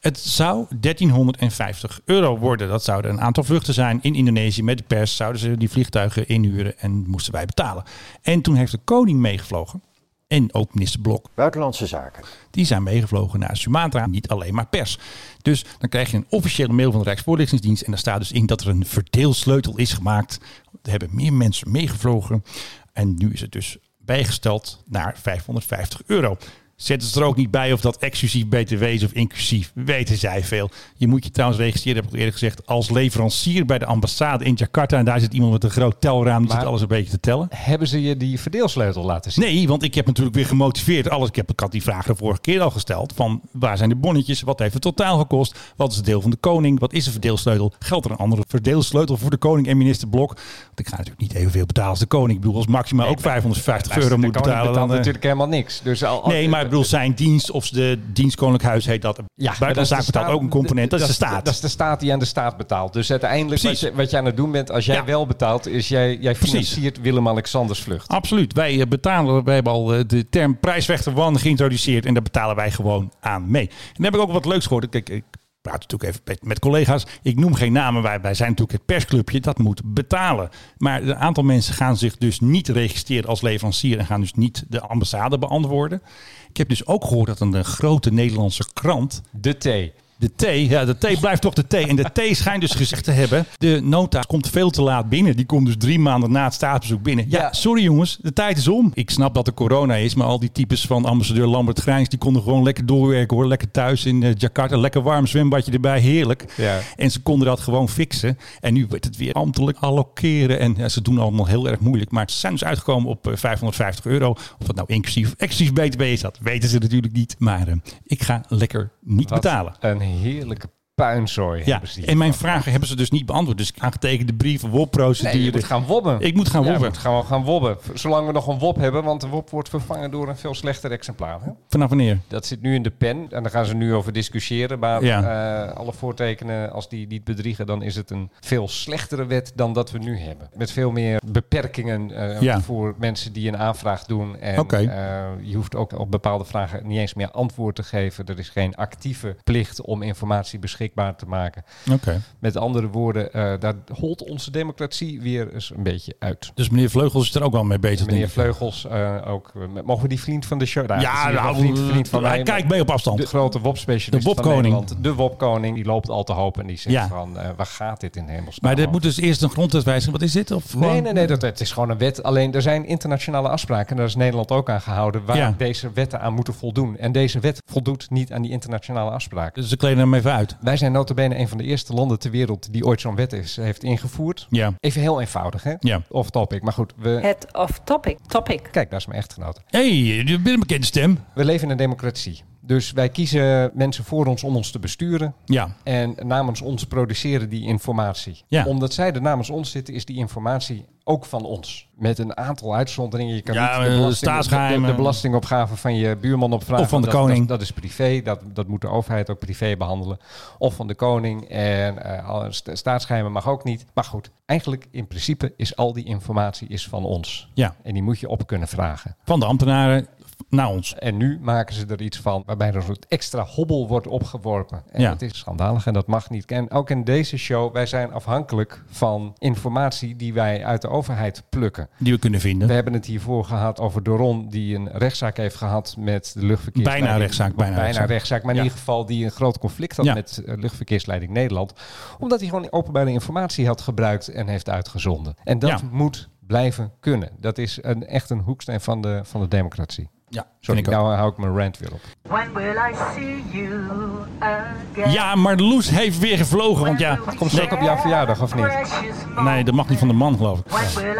[SPEAKER 1] Het zou 1350 euro worden. Dat zouden een aantal vluchten zijn in Indonesië met de pers. Zouden ze die vliegtuigen inhuren en moesten wij betalen. En toen heeft de koning meegevlogen. En ook minister Blok.
[SPEAKER 16] Buitenlandse zaken.
[SPEAKER 1] Die zijn meegevlogen naar Sumatra, niet alleen maar pers. Dus dan krijg je een officiële mail van de Rijksvoorlichtingsdienst. En daar staat dus in dat er een verdeelsleutel is gemaakt. Er hebben meer mensen meegevlogen. En nu is het dus bijgesteld naar 550 euro. Zetten ze er ook niet bij of dat exclusief BTW is of inclusief. Weten zij veel. Je moet je trouwens registreren, heb ik al eerder gezegd, als leverancier bij de ambassade in Jakarta. En daar zit iemand met een groot telraam, die
[SPEAKER 2] Maar-
[SPEAKER 1] zit alles een beetje te tellen.
[SPEAKER 2] Hebben ze je die verdeelsleutel laten zien?
[SPEAKER 1] Nee, want ik heb natuurlijk weer gemotiveerd alles. Ik, heb, ik had die vraag de vorige keer al gesteld. Van waar zijn de bonnetjes? Wat heeft het totaal gekost? Wat is het deel van de koning? Wat is de verdeelsleutel? Geldt er een andere verdeelsleutel voor de koning en minister Blok? Want ik ga natuurlijk niet evenveel betalen als de koning. Ik bedoel, als maximaal ook 550 euro moet
[SPEAKER 2] de koning
[SPEAKER 1] betalen.
[SPEAKER 2] betaalt
[SPEAKER 1] Dan, eh,
[SPEAKER 2] natuurlijk helemaal niks. Dus al, al-
[SPEAKER 1] nee, maar ik bedoel, zijn dienst of de dienst Koninklijk Huis heet dat.
[SPEAKER 2] Ja, maar dat is de
[SPEAKER 1] Buitenlandse zaak betaalt
[SPEAKER 2] staat-
[SPEAKER 1] ook een component. Dat is de staat.
[SPEAKER 2] Dat is de staat die aan de staat betaalt. Dus uiteindelijk wat
[SPEAKER 1] Precies.
[SPEAKER 2] je, wat je aan het doen bent, als jij wel betaalt, is jij, jij financiert Willem-Alexanders vlucht.
[SPEAKER 1] Absoluut. Wij eh, betalen, wij hebben al eh, de term prijsvechter one geïntroduceerd en daar betalen wij gewoon aan mee. En dan heb ik ook wat leuks gehoord. Kijk, ik praat natuurlijk even met, met collega's. Ik noem geen namen, wij, wij zijn natuurlijk het persclubje, dat moet betalen. Maar een aantal mensen gaan zich dus niet registreren als leverancier en gaan dus niet de ambassade beantwoorden. Ik heb dus ook gehoord dat een, eh, grote Nederlandse krant...
[SPEAKER 2] De T.
[SPEAKER 1] De T, ja, de T blijft toch de T. En de T schijnt dus gezegd te hebben: de nota komt veel te laat binnen. Die komt dus drie maanden na het staatsbezoek binnen. Ja, sorry jongens, de tijd is om. Ik snap dat er corona is, maar al die types van ambassadeur Lambert Grijns, die konden gewoon lekker doorwerken hoor. Lekker thuis in eh, Jakarta, lekker warm zwembadje erbij, heerlijk.
[SPEAKER 2] Ja.
[SPEAKER 1] En ze konden dat gewoon fixen. En nu werd het weer ambtelijk allokeren. En ja, ze doen allemaal heel erg moeilijk. Maar ze zijn dus uitgekomen op eh, 550 euro. Of dat nou inclusief of exclusief BTW is, dat weten ze natuurlijk niet. Maar eh, ik ga lekker niet
[SPEAKER 2] Wat
[SPEAKER 1] betalen.
[SPEAKER 2] Een heerlijke puinzooi hebben ze
[SPEAKER 1] Ja,
[SPEAKER 2] hier.
[SPEAKER 1] en mijn vragen hebben ze dus niet beantwoord. Dus aangetekende brieven, WOP-procedure.
[SPEAKER 2] Nee, je moet gaan wobben.
[SPEAKER 1] Ik moet gaan
[SPEAKER 2] Ja, je
[SPEAKER 1] wobben.
[SPEAKER 2] moet gewoon gaan wobben. Zolang we nog een wob hebben, want de wob wordt vervangen door een veel slechter exemplaar. hè?
[SPEAKER 1] Vanaf wanneer?
[SPEAKER 2] Dat zit nu in de pen en daar gaan ze nu over discussiëren. Maar eh, alle voortekenen, als die niet bedriegen, dan is het een veel slechtere wet dan dat we nu hebben. Met veel meer beperkingen eh,
[SPEAKER 1] Ja.
[SPEAKER 2] voor mensen die een aanvraag doen. En
[SPEAKER 1] Oké.
[SPEAKER 2] eh, je hoeft ook op bepaalde vragen niet eens meer antwoord te geven. Er is geen actieve plicht om informatie beschikbaar te maken.
[SPEAKER 1] Oké.
[SPEAKER 2] Met andere woorden, eh, daar holt onze democratie weer eens een beetje uit.
[SPEAKER 1] Dus meneer Vleugels is er ook wel mee bezig, denk
[SPEAKER 2] Meneer
[SPEAKER 1] ik.
[SPEAKER 2] Vleugels, eh, ook. eh, Mogen we die vriend van de show?
[SPEAKER 1] Ja,
[SPEAKER 2] dat is in ieder geval
[SPEAKER 1] nou,
[SPEAKER 2] vriend, vriend van
[SPEAKER 1] hij
[SPEAKER 2] mij, maar-
[SPEAKER 1] kijkt mee op afstand.
[SPEAKER 2] De grote Wop-specialist
[SPEAKER 1] De
[SPEAKER 2] van
[SPEAKER 1] Wopkoning.
[SPEAKER 2] Nederland. De Wop-koning. Die loopt al te hoop en die zegt
[SPEAKER 1] Ja.
[SPEAKER 2] van, eh, waar gaat dit in hemelsnaam?
[SPEAKER 1] Maar dit
[SPEAKER 2] over?
[SPEAKER 1] moet dus eerst een grondwetwijziging. Wat is dit? Of
[SPEAKER 2] Nee,
[SPEAKER 1] gewoon-
[SPEAKER 2] nee, nee, dat, het is gewoon een wet. Alleen er zijn internationale afspraken, en daar is Nederland ook aan gehouden, waar
[SPEAKER 1] Ja.
[SPEAKER 2] deze wetten aan moeten voldoen. En deze wet voldoet niet aan die internationale afspraken.
[SPEAKER 1] Dus ze kleden hem even uit.
[SPEAKER 2] Wij zijn notabene een van de eerste landen ter wereld die ooit zo'n wet is, heeft ingevoerd.
[SPEAKER 1] Ja.
[SPEAKER 2] Even heel eenvoudig, hè?
[SPEAKER 1] Ja.
[SPEAKER 2] Off topic, maar goed. We...
[SPEAKER 17] Het off-topic. Topic.
[SPEAKER 2] Kijk, daar is mijn echtgenote.
[SPEAKER 1] hey, je bent een bekende stem.
[SPEAKER 2] We leven in een democratie. Dus wij kiezen mensen voor ons om ons te besturen.
[SPEAKER 1] Ja.
[SPEAKER 2] En namens ons produceren die informatie.
[SPEAKER 1] Ja.
[SPEAKER 2] Omdat zij er namens ons zitten, is die informatie Ook van ons. Met een aantal uitzonderingen. Je kan
[SPEAKER 1] Ja,
[SPEAKER 2] niet de,
[SPEAKER 1] eh,
[SPEAKER 2] belasting,
[SPEAKER 1] staatsgeheimen.
[SPEAKER 2] de- de belastingopgave van je buurman opvragen.
[SPEAKER 1] Of van de
[SPEAKER 2] Dat- dat-
[SPEAKER 1] koning.
[SPEAKER 2] Dat, is privé. Dat, dat moet de overheid ook privé behandelen. Of van de koning. En eh, al- sta- staatsgeheimen mag ook niet. Maar goed, eigenlijk in principe is al die informatie is van ons.
[SPEAKER 1] Ja.
[SPEAKER 2] En die moet je op kunnen vragen.
[SPEAKER 1] Van de ambtenaren naar ons.
[SPEAKER 2] En nu maken ze er iets van waarbij er een soort extra hobbel wordt opgeworpen. En
[SPEAKER 1] Ja.
[SPEAKER 2] dat is schandalig en dat mag niet. En ook in deze show, wij zijn afhankelijk van informatie die wij uit de overheid plukken.
[SPEAKER 1] Die we kunnen vinden.
[SPEAKER 2] We hebben het hiervoor gehad over Doron, die een rechtszaak heeft gehad met de luchtverkeersleiding.
[SPEAKER 1] Bijna rechtszaak, bijna rechtszaak.
[SPEAKER 2] rechtszaak, maar in
[SPEAKER 1] Ja.
[SPEAKER 2] ieder geval die een groot conflict had
[SPEAKER 1] Ja.
[SPEAKER 2] met eh, luchtverkeersleiding Nederland. Omdat hij gewoon openbare informatie had gebruikt en heeft uitgezonden. En dat
[SPEAKER 1] Ja.
[SPEAKER 2] moet blijven kunnen. Dat is een, echt een hoeksteen van de, van de democratie.
[SPEAKER 1] Ja,
[SPEAKER 2] Sorry,
[SPEAKER 1] vind ik ook.
[SPEAKER 2] nou hou ik mijn rant weer op.
[SPEAKER 16] When will I see you again?
[SPEAKER 1] Ja, maar Loes heeft weer gevlogen. Want ja,
[SPEAKER 2] Komt ze ook op jouw verjaardag, of niet?
[SPEAKER 1] Nee, dat mag niet van de man, geloof ik.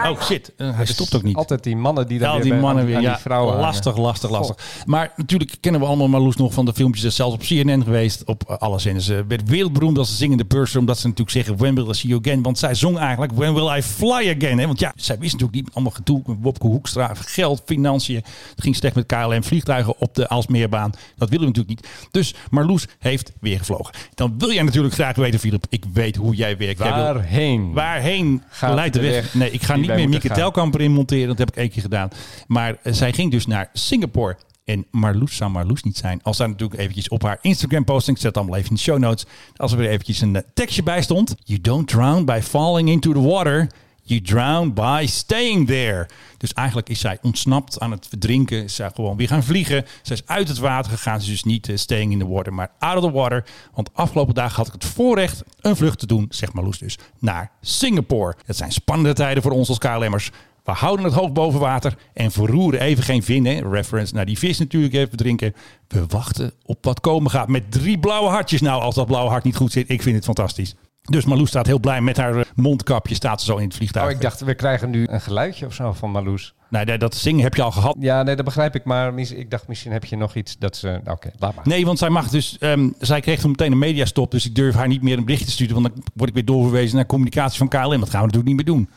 [SPEAKER 1] Oh shit, eh, hij stopt ook niet.
[SPEAKER 2] Altijd die mannen die daar
[SPEAKER 1] Ja,
[SPEAKER 2] weer
[SPEAKER 1] die
[SPEAKER 2] bij-
[SPEAKER 1] mannen
[SPEAKER 2] aan,
[SPEAKER 1] weer.
[SPEAKER 2] aan
[SPEAKER 1] Ja,
[SPEAKER 2] die vrouwen hangen.
[SPEAKER 1] lastig, lastig,
[SPEAKER 2] Goh.
[SPEAKER 1] lastig. Maar natuurlijk kennen we allemaal Marloes nog van de filmpjes. Ze is zelfs op CNN geweest, op eh, alle zenders. Ze werd wereldberoemd als de zingende purser. Omdat ze natuurlijk zeggen, when will I see you again? Want zij zong eigenlijk, when will I fly again? Hè? Want ja, zij wist natuurlijk niet allemaal gedoe. Wopke Hoekstra, geld, financiën. Het ging slecht met KLM, vliegtuigen op de Alsmeerbaan. Dat willen we natuurlijk niet. Dus Marloes heeft weer gevlogen. Dan wil jij natuurlijk graag weten, Philip. Ik weet hoe jij werkt. Jij wil-
[SPEAKER 2] Waarheen?
[SPEAKER 1] Waarheen
[SPEAKER 2] Gaat
[SPEAKER 1] leidt de
[SPEAKER 2] de
[SPEAKER 1] weg?
[SPEAKER 2] weg
[SPEAKER 1] Nee, ik ga
[SPEAKER 2] die
[SPEAKER 1] niet
[SPEAKER 2] wij
[SPEAKER 1] meer
[SPEAKER 2] moeten
[SPEAKER 1] Mieke
[SPEAKER 2] gaan.
[SPEAKER 1] Telkamp erin monteren. Dat heb ik één keer gedaan. Maar eh, zij ging dus naar Singapore. En Marloes zou Marloes niet zijn. Als daar natuurlijk eventjes op haar Instagram posting. Ik zet het allemaal even in de show notes. Als er weer eventjes een eh, tekstje bij stond. You don't drown by falling into the water. You drown by staying there. Dus eigenlijk is zij ontsnapt aan het verdrinken. Is Zij gewoon weer gaan vliegen. Zij is uit het water gegaan. Ze is dus niet eh, staying in the water, maar out of the water. Want afgelopen dagen had ik het voorrecht een vlucht te doen, zegt Marloes dus, naar Singapore. Het zijn spannende tijden voor ons als KLM'ers. We houden het hoofd boven water en verroeren even geen vin. Hè? Reference naar die vis natuurlijk even drinken. We wachten op wat komen gaat. Met drie blauwe hartjes. Nou, als dat blauwe hart niet goed zit, ik vind het fantastisch. Dus Marloes staat heel blij met haar eh, mondkapje. Staat ze zo in het vliegtuig.
[SPEAKER 2] Oh, ik dacht, we krijgen nu een geluidje of zo van Marloes.
[SPEAKER 1] Nee, nee, dat zingen heb je al gehad.
[SPEAKER 2] Ja, nee, dat begrijp ik. Maar mis- ik dacht, misschien heb je nog iets dat ze... nou, Oké, laat maar.
[SPEAKER 1] Nee, want zij mag dus. ehm, zij kreeg toen meteen een mediastop. Dus ik durf haar niet meer een bericht te sturen. Want dan word ik weer doorverwezen naar communicatie van KLM. Dat gaan we natuurlijk niet meer doen.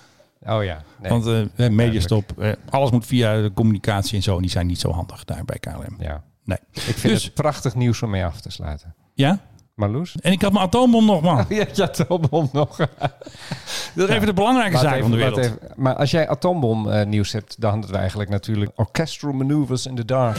[SPEAKER 2] Oh ja. Nee.
[SPEAKER 1] Want eh, eh, mediastop. eh, alles moet via de communicatie en zo. En die zijn niet zo handig daar bij KLM.
[SPEAKER 2] Ja.
[SPEAKER 1] Nee.
[SPEAKER 2] Ik vind
[SPEAKER 1] Dus-
[SPEAKER 2] het prachtig nieuws om mee af te sluiten.
[SPEAKER 1] Ja?
[SPEAKER 2] Marloes?
[SPEAKER 1] En ik had mijn atoombom nog, man.
[SPEAKER 2] Ja, je atoombom nog.
[SPEAKER 1] Dat is even de belangrijke
[SPEAKER 2] Wacht
[SPEAKER 1] zaak
[SPEAKER 2] even,
[SPEAKER 1] van de
[SPEAKER 2] wacht
[SPEAKER 1] wereld.
[SPEAKER 2] even. Maar als jij atoombom eh, nieuws hebt, dan hadden we eigenlijk natuurlijk Orchestral Maneuvers in the Dark.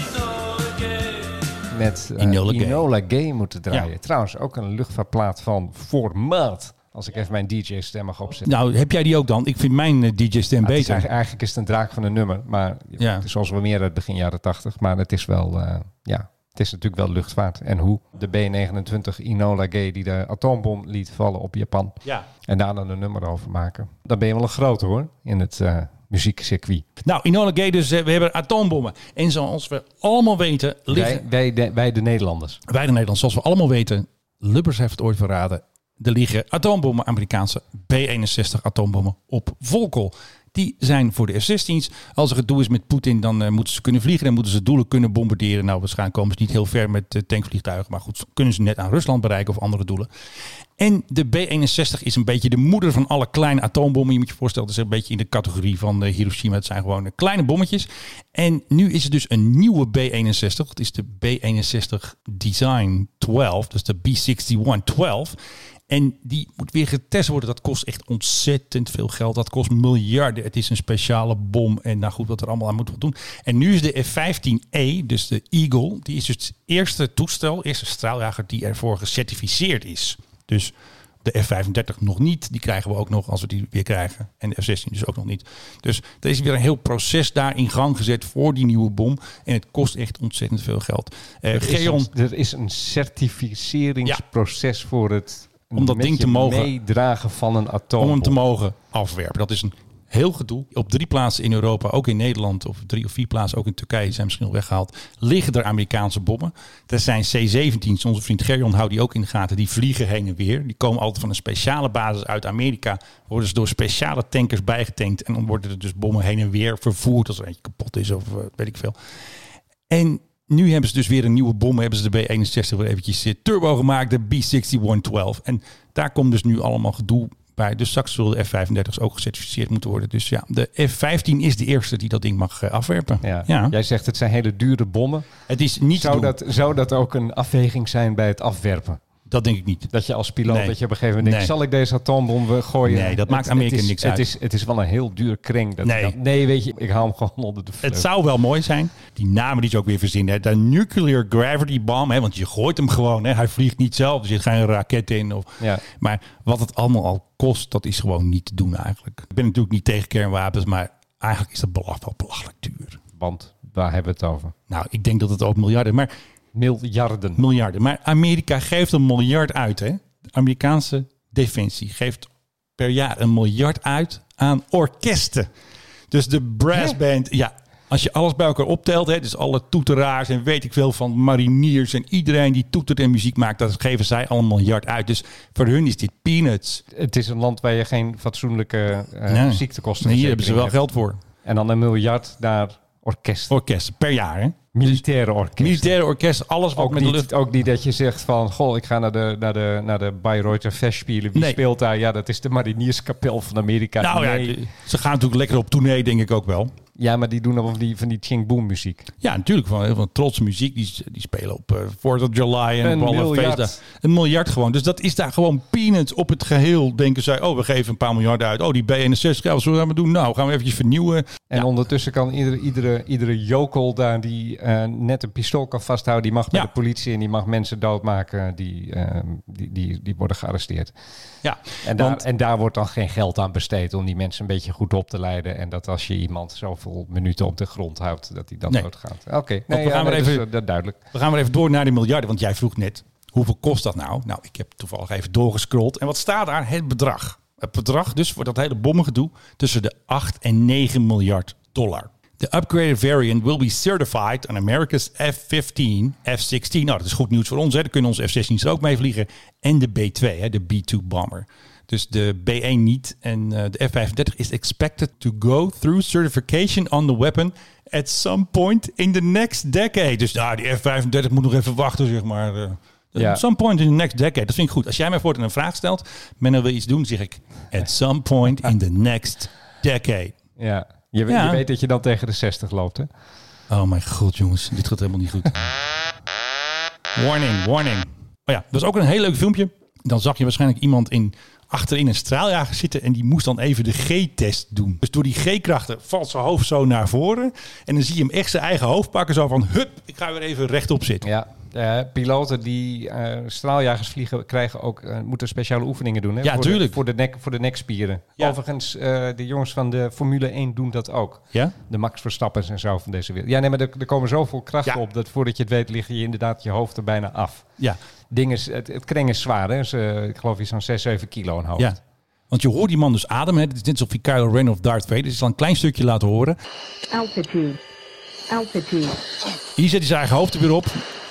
[SPEAKER 2] Met eh,
[SPEAKER 1] Enola Gay.
[SPEAKER 2] Enola Gay moeten draaien.
[SPEAKER 1] Ja.
[SPEAKER 2] Trouwens, ook een luchtvaartplaat van formaat. Als ik even mijn DJ-stem mag opzetten.
[SPEAKER 1] Nou, heb jij die ook dan? Ik vind mijn DJ-stem
[SPEAKER 2] Ja, Ah, het is
[SPEAKER 1] beter.
[SPEAKER 2] eigenlijk- eigenlijk is het een draak van een nummer. Maar
[SPEAKER 1] Ja.
[SPEAKER 2] het is zoals we meer uit begin jaren 80. Maar het is wel, eh, ja, het is natuurlijk wel luchtvaart. En hoe de B-29 Inola Gay die de atoombom liet vallen op Japan.
[SPEAKER 1] Ja.
[SPEAKER 2] En daar dan een nummer over maken. Dan ben je wel een grote hoor, in het eh, muziekcircuit.
[SPEAKER 1] Nou, Enola Gay dus. eh, We hebben atoombommen. En zoals we allemaal weten... Liggen...
[SPEAKER 2] Wij, wij, de, wij de Nederlanders.
[SPEAKER 1] Wij de Nederlanders, zoals we allemaal weten, Lubbers heeft het ooit verraden. Er liggen atoombommen, Amerikaanse B-61 atoombommen op Volkel. Die zijn voor de F-16's. Als er gedoe is met Poetin, dan eh, moeten ze kunnen vliegen. Dan moeten ze doelen kunnen bombarderen. Nou, waarschijnlijk komen ze niet heel ver met eh, tankvliegtuigen. Maar goed, kunnen ze net aan Rusland bereiken of andere doelen. En de B-61 is een beetje de moeder van alle kleine atoombommen. Je moet je voorstellen, dat is een beetje in de categorie van eh, Hiroshima. Het zijn gewoon eh, kleine bommetjes. En nu is er dus een nieuwe B-61. Dat is de B-61 Design 12. Dus de B-61 12. En die moet weer getest worden. Dat kost echt ontzettend veel geld. Dat kost miljarden. Het is een speciale bom. En nou goed, wat er allemaal aan moet doen. En nu is de F-15E, dus de Eagle, die is dus het eerste toestel, eerste straaljager die ervoor gecertificeerd is. Dus de F-35 nog niet. Die krijgen we ook nog als we die weer krijgen. En de F-16 dus ook nog niet. Dus er is weer een heel proces daar in gang gezet voor die nieuwe bom. En het kost echt ontzettend veel geld. Eh,
[SPEAKER 2] Er is,
[SPEAKER 1] Geon,
[SPEAKER 2] een, er is een certificeringsproces voor het...
[SPEAKER 1] Om dat
[SPEAKER 2] met
[SPEAKER 1] ding
[SPEAKER 2] je
[SPEAKER 1] te mogen.
[SPEAKER 2] meedragen van een atoombom.
[SPEAKER 1] om hem te mogen afwerpen. Dat is een heel gedoe. Op drie plaatsen in Europa, ook in Nederland, of drie of vier plaatsen, ook in Turkije zijn misschien al weggehaald, liggen er Amerikaanse bommen. Dat zijn C-17's. Onze vriend Gerjon houdt die ook in de gaten. Die vliegen heen en weer. Die komen altijd van een speciale basis uit Amerika. Worden ze door speciale tankers bijgetankt. En dan worden er dus bommen heen en weer vervoerd als er eentje kapot is of eh, weet ik veel. En nu hebben ze dus weer een nieuwe bom. Hebben ze de B61 weer eventjes eh, turbo gemaakt, de B6112. En daar komt dus nu allemaal gedoe bij. Dus straks zullen de F-35's ook gecertificeerd moeten worden. Dus ja, de F-15 is de eerste die dat ding mag eh, afwerpen.
[SPEAKER 2] Ja. Jij zegt het zijn hele dure bommen.
[SPEAKER 1] Het is niet
[SPEAKER 2] zou
[SPEAKER 1] te doen.
[SPEAKER 2] dat, zou dat ook een afweging zijn bij het afwerpen?
[SPEAKER 1] Dat denk ik niet.
[SPEAKER 2] Dat je als piloot
[SPEAKER 1] Nee.
[SPEAKER 2] dat je op een gegeven moment denkt,
[SPEAKER 1] Nee.
[SPEAKER 2] zal ik deze atoombom weer gooien?
[SPEAKER 1] Nee, dat maakt Amerika
[SPEAKER 2] het is,
[SPEAKER 1] niks
[SPEAKER 2] het
[SPEAKER 1] uit.
[SPEAKER 2] Is, het is wel een heel duur kring. Dat
[SPEAKER 1] Nee.
[SPEAKER 2] dat- nee, weet je, ik haal hem gewoon onder de vleugel.
[SPEAKER 1] Het zou wel mooi zijn. Die namen die ze ook weer verzinnen. hè. De nuclear gravity bomb. Hè, want je gooit hem gewoon. Hè. Hij vliegt niet zelf. Er zit geen raket in. Of,
[SPEAKER 2] Ja.
[SPEAKER 1] Maar wat het allemaal al kost, dat is gewoon niet te doen eigenlijk. Ik ben natuurlijk niet tegen kernwapens. Maar eigenlijk is dat belach wel belachelijk duur.
[SPEAKER 2] Want waar hebben we het over?
[SPEAKER 1] Nou, ik denk dat het ook miljarden. Maar,
[SPEAKER 2] Miljarden.
[SPEAKER 1] miljarden. Maar Amerika geeft een miljard uit. Hè. De Amerikaanse defensie geeft per jaar een miljard uit aan orkesten. Dus de brass band, ja. Als je alles bij elkaar optelt, hè, dus alle toeteraars en weet ik veel van mariniers en iedereen die toetert en muziek maakt, dat geven zij al een miljard uit. Dus voor hun is dit peanuts.
[SPEAKER 2] Het is een land waar je geen fatsoenlijke eh
[SPEAKER 1] Nee.
[SPEAKER 2] ziektekosten
[SPEAKER 1] Nee, hier hebben ze wel
[SPEAKER 2] hebt.
[SPEAKER 1] geld voor.
[SPEAKER 2] En dan een miljard naar orkest.
[SPEAKER 1] Orkest, per jaar hè?
[SPEAKER 2] Militaire orkest.
[SPEAKER 1] Militaire orkest, alles wat
[SPEAKER 2] Ook
[SPEAKER 1] met de lucht...
[SPEAKER 2] niet, ook niet dat je zegt van, goh, ik ga naar de, naar de, naar de Bayreuther Festspielen. Wie
[SPEAKER 1] Nee.
[SPEAKER 2] speelt daar? Ja, dat is de Marinierskapel van Amerika.
[SPEAKER 1] Nou ja,
[SPEAKER 2] Nee.
[SPEAKER 1] ze gaan natuurlijk lekker op tournee, denk ik ook wel.
[SPEAKER 2] Ja, maar die doen dan van die, van die Ching Boom muziek.
[SPEAKER 1] Ja, natuurlijk. Van, van trotse muziek. Die, die spelen op eh, 4th of July en
[SPEAKER 2] Een
[SPEAKER 1] op alle
[SPEAKER 2] miljard.
[SPEAKER 1] feestdagen. Een miljard gewoon. Dus dat is daar gewoon peanuts op het geheel. Denken zij, oh, we geven een paar miljard uit. Oh, die B61, ja, wat zullen we daarmee doen? Nou, gaan we eventjes vernieuwen.
[SPEAKER 2] En ondertussen kan iedere, iedere, iedere jokel daar die eh, net een pistool kan vasthouden, die mag bij
[SPEAKER 1] Ja.
[SPEAKER 2] de politie en die mag mensen doodmaken die, eh, die, die, die worden gearresteerd.
[SPEAKER 1] Ja,
[SPEAKER 2] En daar,
[SPEAKER 1] want-
[SPEAKER 2] en daar wordt dan geen geld aan besteed om die mensen een beetje goed op te leiden. En dat als je iemand zoveel minuten op de grond houdt, dat hij dan
[SPEAKER 1] Nee.
[SPEAKER 2] doodgaat. Nou, Oké, nee,
[SPEAKER 1] Want we
[SPEAKER 2] ja,
[SPEAKER 1] gaan
[SPEAKER 2] nee,
[SPEAKER 1] maar
[SPEAKER 2] dat is,
[SPEAKER 1] even-
[SPEAKER 2] eh, dat duidelijk.
[SPEAKER 1] We gaan maar even door naar die miljarden. Want jij vroeg net, hoeveel kost dat nou? Nou, ik heb toevallig even doorgescrolld. En wat staat daar? Het bedrag. Het bedrag dus voor dat hele bommengedoe tussen de 8 en 9 miljard dollar. De upgraded variant will be certified on America's F-15, F-16. Nou, dat is goed nieuws voor ons. Hè. Daar kunnen onze F-16's er ook mee vliegen. En de B-2, hè, de B-2 bomber. Dus de B-1 niet. En eh, de F-35 is expected to go through certification on the weapon at some point in the next decade. Dus nou, die F-35 moet nog even wachten, zeg maar. eh.
[SPEAKER 2] Ja.
[SPEAKER 1] At some point in the next decade. Dat vind ik goed. Als jij mij voortaan een vraag stelt, men wil iets doen, zeg ik... At some point in the next decade.
[SPEAKER 2] Ja. Je, we-
[SPEAKER 1] Ja.
[SPEAKER 2] je weet dat je dan tegen de 60 loopt, hè?
[SPEAKER 1] Oh mijn god, jongens. Dit gaat helemaal niet goed. Warning, warning. Oh ja, dat was ook een heel leuk filmpje. Dan zag je waarschijnlijk iemand in, achterin een straaljager zitten... en die moest dan even de G-test doen. Dus door die G-krachten valt zijn hoofd zo naar voren... en dan zie je hem echt zijn eigen hoofd pakken. Zo van, hup, ik ga weer even rechtop zitten.
[SPEAKER 2] Ja. eh, piloten die eh, straaljagers vliegen, krijgen ook, eh, moeten speciale oefeningen doen. Hè?
[SPEAKER 1] Ja,
[SPEAKER 2] voor de-
[SPEAKER 1] tuurlijk.
[SPEAKER 2] voor, de nek, voor de nekspieren.
[SPEAKER 1] Ja.
[SPEAKER 2] Overigens, eh, de jongens van de Formule 1 doen dat ook.
[SPEAKER 1] Ja?
[SPEAKER 2] De Max Verstappers en zo van deze wereld. Ja, nee, maar er, er komen zoveel krachten op dat voordat je het weet, liggen je inderdaad je hoofd er bijna af.
[SPEAKER 1] Ja.
[SPEAKER 2] Ding is, het, het kreng is zwaar, hè? Is, eh, ik geloof iets zo'n 6, 7 kilo een hoofd.
[SPEAKER 1] Ja. Want je hoort die man dus ademen. hè. Het is net alsof je Kylo Ren of Darth Vader... is al een klein stukje laten horen.
[SPEAKER 16] Altitude. Altitude.
[SPEAKER 1] Hier zet hij zijn eigen hoofd er weer op.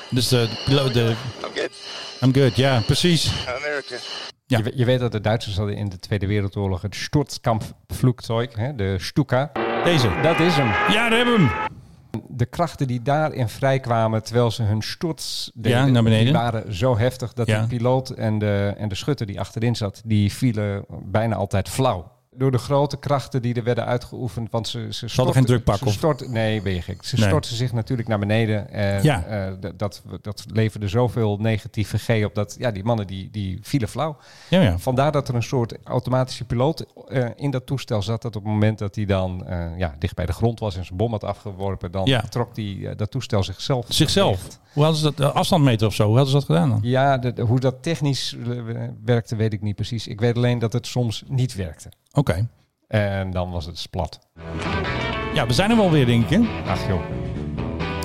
[SPEAKER 1] Dus de piloot... De... I'm good, ja, precies.
[SPEAKER 2] Je, we- je weet dat de Duitsers hadden in de Tweede Wereldoorlog het Sturzkampfflugzeug, hè, de Stuka.
[SPEAKER 1] Deze.
[SPEAKER 2] Dat is hem.
[SPEAKER 1] Ja, daar hebben we hem.
[SPEAKER 2] De krachten die daarin vrijkwamen terwijl ze hun storts deden,
[SPEAKER 1] Ja, naar beneden.
[SPEAKER 2] die waren zo heftig dat
[SPEAKER 1] Ja.
[SPEAKER 2] de piloot en de, en de schutter die achterin zat, die vielen bijna altijd flauw. Door de grote krachten die er werden uitgeoefend, want ze, ze stortten...
[SPEAKER 1] geen drukpak
[SPEAKER 2] ze
[SPEAKER 1] of-
[SPEAKER 2] stortten- nee, ben je gek. Ze
[SPEAKER 1] Nee.
[SPEAKER 2] stortten zich natuurlijk naar beneden. En
[SPEAKER 1] Ja.
[SPEAKER 2] eh, d- dat, dat leverde zoveel negatieve G op dat... Ja, die mannen die, die vielen flauw.
[SPEAKER 1] Ja, ja.
[SPEAKER 2] Vandaar dat er een soort automatische piloot eh, in dat toestel zat. Dat op het moment dat hij dan eh, ja, dicht bij de grond was en zijn bom had afgeworpen, dan
[SPEAKER 1] Ja.
[SPEAKER 2] trok die, eh, dat toestel zichzelf.
[SPEAKER 1] Zichzelf.
[SPEAKER 2] dicht.
[SPEAKER 1] Hoe hadden ze dat? eh, Afstandmeter of zo? Hoe hadden ze dat gedaan dan?
[SPEAKER 2] Ja, de- de- hoe dat technisch eh, werkte, weet ik niet precies. Ik weet alleen dat het soms niet werkte.
[SPEAKER 1] Oké.
[SPEAKER 2] En dan was het plat.
[SPEAKER 1] Ja, we zijn er wel weer, denk ik. Hè?
[SPEAKER 2] Ach joh.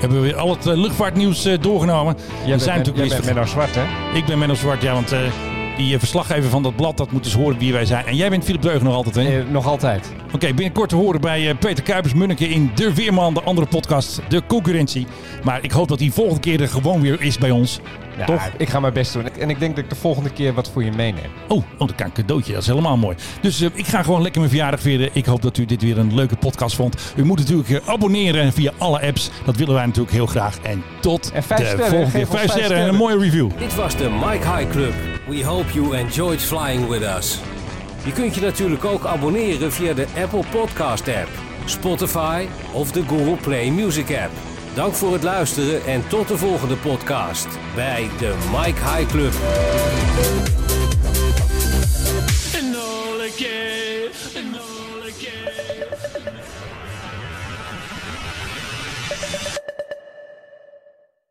[SPEAKER 1] Hebben we weer al het eh, luchtvaartnieuws eh, doorgenomen.
[SPEAKER 2] Jij
[SPEAKER 1] we
[SPEAKER 2] bent,
[SPEAKER 1] zijn
[SPEAKER 2] met, jij
[SPEAKER 1] weer
[SPEAKER 2] bent
[SPEAKER 1] eens
[SPEAKER 2] Menno Zwart, hè?
[SPEAKER 1] ver- Ik ben Menno Zwart, ja, want eh, die eh, verslaggever van dat blad, dat moet dus horen wie wij zijn. En jij bent Philip Deug nog altijd, hè?
[SPEAKER 2] Eh, nog altijd.
[SPEAKER 1] Oké, binnenkort te horen bij eh, Peter Kuipers-Munneke in De Weerman, de andere podcast, De Concurrentie. Maar ik hoop dat die volgende keer er gewoon weer is bij ons.
[SPEAKER 2] Ja,
[SPEAKER 1] Toch?
[SPEAKER 2] Ik ga mijn best doen. En ik denk dat ik de volgende keer wat voor je meeneem.
[SPEAKER 1] Oh, oh, dan kan ik een cadeautje. Dat is helemaal mooi. Dus eh, ik ga gewoon lekker mijn verjaardag vieren. Ik hoop dat u dit weer een leuke podcast vond. U moet natuurlijk eh, abonneren via alle apps. Dat willen wij natuurlijk heel graag. En tot
[SPEAKER 2] En vijf
[SPEAKER 1] de
[SPEAKER 2] sterren.
[SPEAKER 1] volgende keer.
[SPEAKER 2] Geef ons
[SPEAKER 1] Vijf
[SPEAKER 2] vijf
[SPEAKER 1] sterren en een
[SPEAKER 2] sterren.
[SPEAKER 1] mooie review.
[SPEAKER 3] Dit was de Mike High Club. We hope you enjoyed flying with us. Je kunt je natuurlijk ook abonneren via de Apple Podcast app, Spotify of de Google Play Music app. Dank voor het luisteren en tot de volgende podcast bij de Mike High Club.